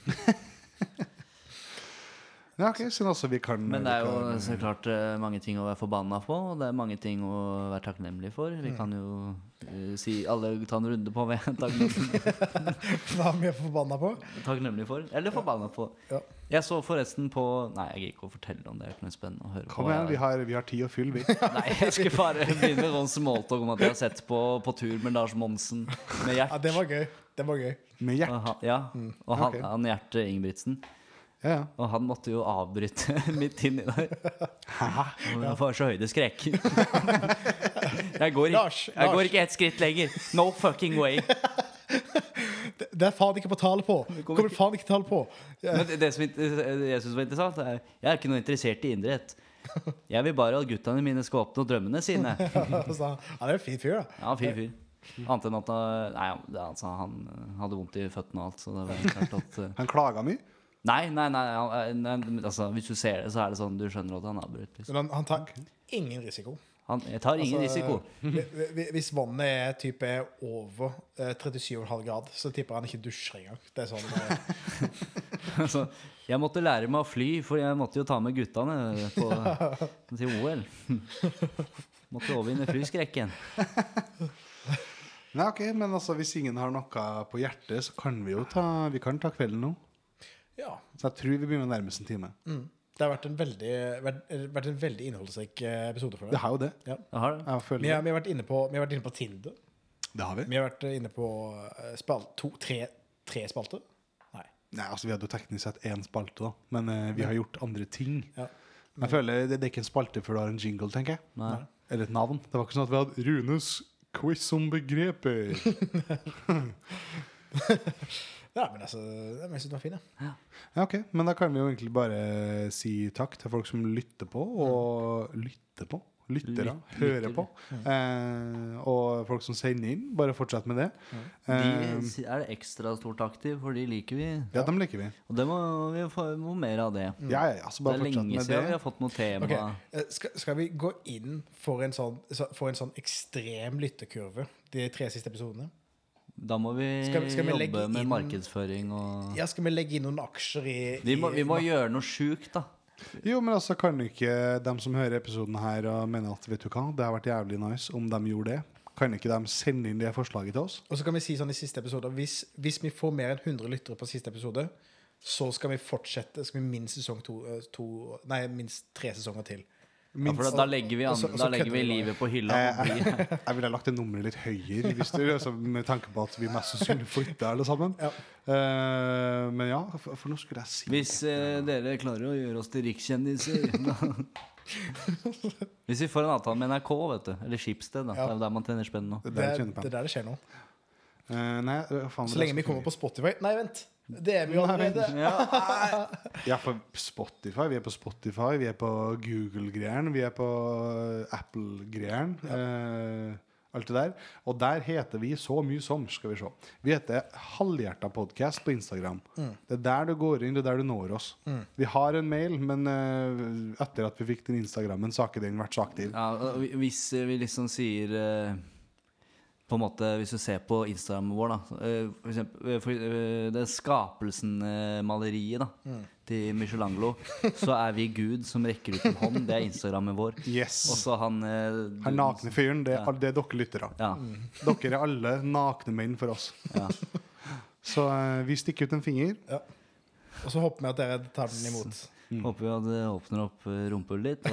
S3: Ja, ok, siden altså vi kan
S2: Men det er
S3: vi
S2: jo
S3: kan-
S2: så klart eh, mange ting å være forbanna på, og det er mange ting å være takknemlig for. Vi kan jo eh, si alle ta en runde på hva jeg er takknemlig
S1: Hva er vi forbanna på?
S2: takknemlig for. Eller forbanna på.
S1: Ja.
S2: Jeg så forresten på Nei, jeg gidder ikke å fortelle om det. Det er ikke noe spennende å høre
S3: Kom
S2: på.
S3: igjen, vi
S2: Jeg-
S3: har, vi har tid å fylle, vi.
S2: Nei, jeg skulle bare begynne med sånn smalltalk om at jeg har sett på På tur med Lars Monsen med
S1: Ja,
S2: Gjert.
S1: det var gøy. Det var gøy.
S3: Med
S2: Og
S3: hjerte.
S2: han- Ja, og han,
S3: ok.
S2: han Gjert Ingebrigtsen.
S3: Ja, ja.
S2: Og han måtte jo avbryte midt inni der. Og Jeg får så høydeskrekk. Jeg går, ikke-
S1: Lars,
S2: jeg går
S1: Lars.
S2: ikke ett skritt lenger. No fucking way.
S1: Det, det er faen ikke på tall på! Kommer faen ikke tall på!
S2: Men det- det som int- jeg synes var interessant, er jeg er ikke noe interessert i idrett. Jeg vil bare at guttene mine skal oppnå drømmene sine.
S1: Altså, ja, det er en fin fyr, da.
S2: Ja, fin fyr. Annet enn at han, nei, han- det- altså, han eh, hadde vondt i føttene og alt. Så det var helt klart at eh,
S3: Han klaga mye.
S2: Nei, nei, nei. han- eh, nei men altså, hvis du ser det, så er det sånn du skjønner at han avbryter. Liksom.
S1: Men han, han tar ingen risiko.
S2: Han jeg tar ingen
S1: Altså,
S2: risiko.
S1: hvi- hvi- Hvis vannet er type over eh, 37,5 grad, så tipper jeg han ikke dusjer engang. Det er sånn, eh,
S2: Altså, jeg måtte lære meg å fly, for jeg måtte jo ta med guttene på, til OL. Måtte overvinne flyskrekken.
S3: Nei, ok, men altså, Hvis ingen har noe på hjertet, så kan vi jo ta, vi kan ta kvelden nå.
S1: ja.
S3: Så jeg tror vi begynner nærmest en time.
S1: Det har vært en veldig, vært, eh, vært en veldig innholdsrik eh, episode for
S3: Det
S1: deg.
S3: har jo det.
S2: Jeg har det.
S3: Jeg
S1: Vi
S3: føler
S1: har,
S3: det.
S1: vi, har vært inne på, vi har vært inne på Tinder.
S3: Det har vi.
S1: Vi har vært inne på eh, spal, to, tre, tre spalter. Nei.
S3: Nei, altså, Vi hadde jo teknisk sett én spalte, da. Men eh, vi har gjort andre ting.
S1: Ja.
S3: Men jeg føler det, det er ikke en spalte før du har en jingle, tenker jeg.
S2: Nei.
S3: Eller et navn. Det var ikke sånn at vi hadde Runes quiz om begreper.
S1: Ja, men altså, jeg synes den var fin, ja.
S3: Ja, ok, Men da kan vi jo egentlig bare si takk til folk som lytter på, og lytter på. Lytter, da.
S2: Lytt-
S3: Hører
S2: lytter.
S3: på. Eh, og folk som sender inn. Bare fortsett med det. Eh,
S2: De si- er det ekstra stort aktiv, for de liker vi.
S3: ja, dem liker vi.
S2: Og det må vi få må mer av det.
S3: Ja, ja, ja, så
S2: Mm. Det
S3: bare
S2: er
S3: fortsett
S2: lenge
S3: med
S2: siden
S3: det.
S2: vi har fått noe tema.
S1: Ok, eh, skal, skal vi gå inn for en sånn, så- for en sånn ekstrem lyttekurve de tre siste episodene?
S2: Da må vi,
S1: Skal vi- skal vi legge
S2: jobbe med
S1: inn-
S2: markedsføring og
S1: Ja, skal vi legge inn noen aksjer i, i
S2: Vi må, vi må gjøre noe sjukt, da.
S3: Jo, men altså kan ikke dem som hører episoden her og mener at vet du hva, det har vært jævlig nice om de gjorde det, kan ikke de sende inn det forslaget til oss?
S1: Og så kan vi si sånn i siste episode hvis, hvis vi får mer enn 100 lyttere på siste episode, så skal vi fortsette. Skal vi minst sesong to, eh, to Nei, minst tre sesonger til.
S2: Ja, for da, da legger vi, an,
S1: Og så- og så
S2: da legger
S1: kødder
S2: vi
S1: vi bare.
S2: livet på hylla.
S3: Eh,
S2: og blir-
S3: jeg, jeg ville lagt det nummeret litt høyere, hvis du, altså, med tanke på at vi mest sannsynlig flytter alle sammen.
S1: Ja.
S3: Eh, men ja, for, for nå skulle jeg si
S2: Hvis eh, dere klarer å gjøre oss til rikskjendiser da. Hvis vi får en avtale med NRK, vet du. Eller Schibsted, da.
S1: Ja.
S2: Det er jo der man tjener spenn nå.
S3: Det
S1: Det
S3: der
S1: er,
S3: kjenner
S1: det
S3: på.
S1: er der det skjer nå.
S3: Eh, nei, eh, faen,
S1: Så lenge vi kommer på Spotify Nei, vent! Det er vi jo allerede.
S2: Ja.
S3: Ja, for Spotify. Vi er på Spotify, vi er på Google-greieren, vi er på Apple-greieren. eh, alt det der. Og der heter vi så mye som, skal vi se. Vi heter Halvhjerta podcast på Instagram.
S2: Mm.
S3: Det er der du går inn, det er der du når oss. Vi har en mail, men eh, etter at vi fikk den Instagrammen, så har ikke den vært så aktiv.
S2: Ja, og vi- hvis eh, vi liksom sier eh, På en måte, Hvis du ser på Instagram vår, da eh, for eksempel, eh, for, eh, Det Skapelsen-maleriet da
S3: Mm.
S2: til Michelangelo, så er vi Gud som rekker ut en hånd. Det er Instagrammen vår. Og
S3: Yes.
S2: så han eh,
S3: Han nakne Mm. fyren, det, er- det er dere lyttere.
S2: Ja.
S3: Dere er alle nakne menn for oss.
S2: Ja.
S3: Så eh, vi stikker ut en finger.
S1: Ja. Og så håper vi at dere tar den imot.
S2: Håper vi at det åpner opp eh, rumpehullet ditt.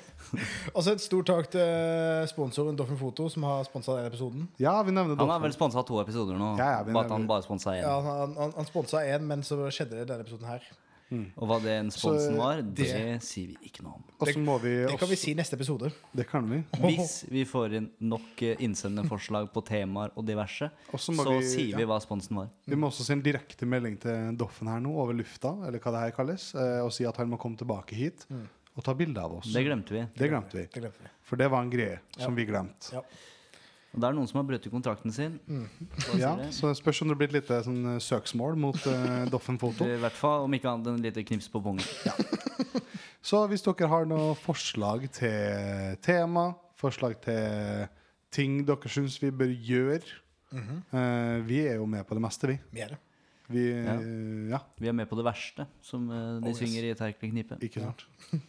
S2: Og så
S1: Og så Altså, et stort takk til eh, sponsoren Doffen Foto, som har sponsa denne episoden.
S3: Ja, vi nevner
S2: Han har
S3: Dolphin.
S2: vel sponsa to episoder nå.
S3: Ja, ja, men-
S2: bare at han bare sponsa én.
S1: Ja, han han, han sponsa én, men så skjedde det denne episoden her.
S2: Og hva den
S3: Så,
S2: sponsen var, det,
S1: det-
S2: sier vi ikke noe om.
S3: Og så må vi
S1: Det kan vi
S3: også-
S1: si i neste episode.
S3: Det kan vi.
S2: Hvis vi får inn nok eh, innsendende forslag på temaer og diverse,
S3: Og så
S2: så
S3: må vi-
S2: sier vi
S3: ja.
S2: hva sponsen var.
S3: Vi må også sende direkte melding til Doffen her nå, over lufta, eller hva det her kalles, eh, og si at han må komme tilbake hit og ta bilde av oss.
S2: Mm. Det glemte vi.
S3: Det glemte vi.
S1: Det glemte vi.
S3: For det var en greie som vi glemte.
S1: Ja.
S2: Og det er noen som har brutt kontrakten sin.
S3: Mm.
S2: Bare
S3: Ja,
S2: sier det.
S3: så det spørs om det blir et lite sånn, eh, søksmål mot eh, Doffen Foto.
S2: I hvert fall om ikke annet en liten knips på pungen.
S3: Så hvis dere har noen forslag til tema, forslag til ting dere syns vi bør gjøre
S2: Mhm.
S3: eh, Vi er jo med på det meste, vi.
S1: Vi er det.
S3: vi ja.
S2: Ja. Vi er med på det verste, som eh, de
S1: Oh, yes.
S2: synger i et herkelig knipe.
S3: ikke sant?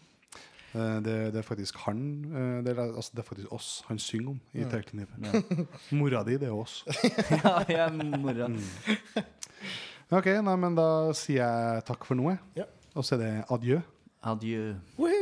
S3: Eh, det, det er faktisk han eh, det, er, altså, det er faktisk oss han synger om i Terkelknippet.
S2: Ja.
S3: Mora di, det er oss.
S2: ja, jeg er mora.
S3: Mm. Ok, nei, men Da sier jeg takk for nå, jeg.
S1: Ja.
S3: Og så er det adjø.
S2: Adjø.
S1: Woohoo!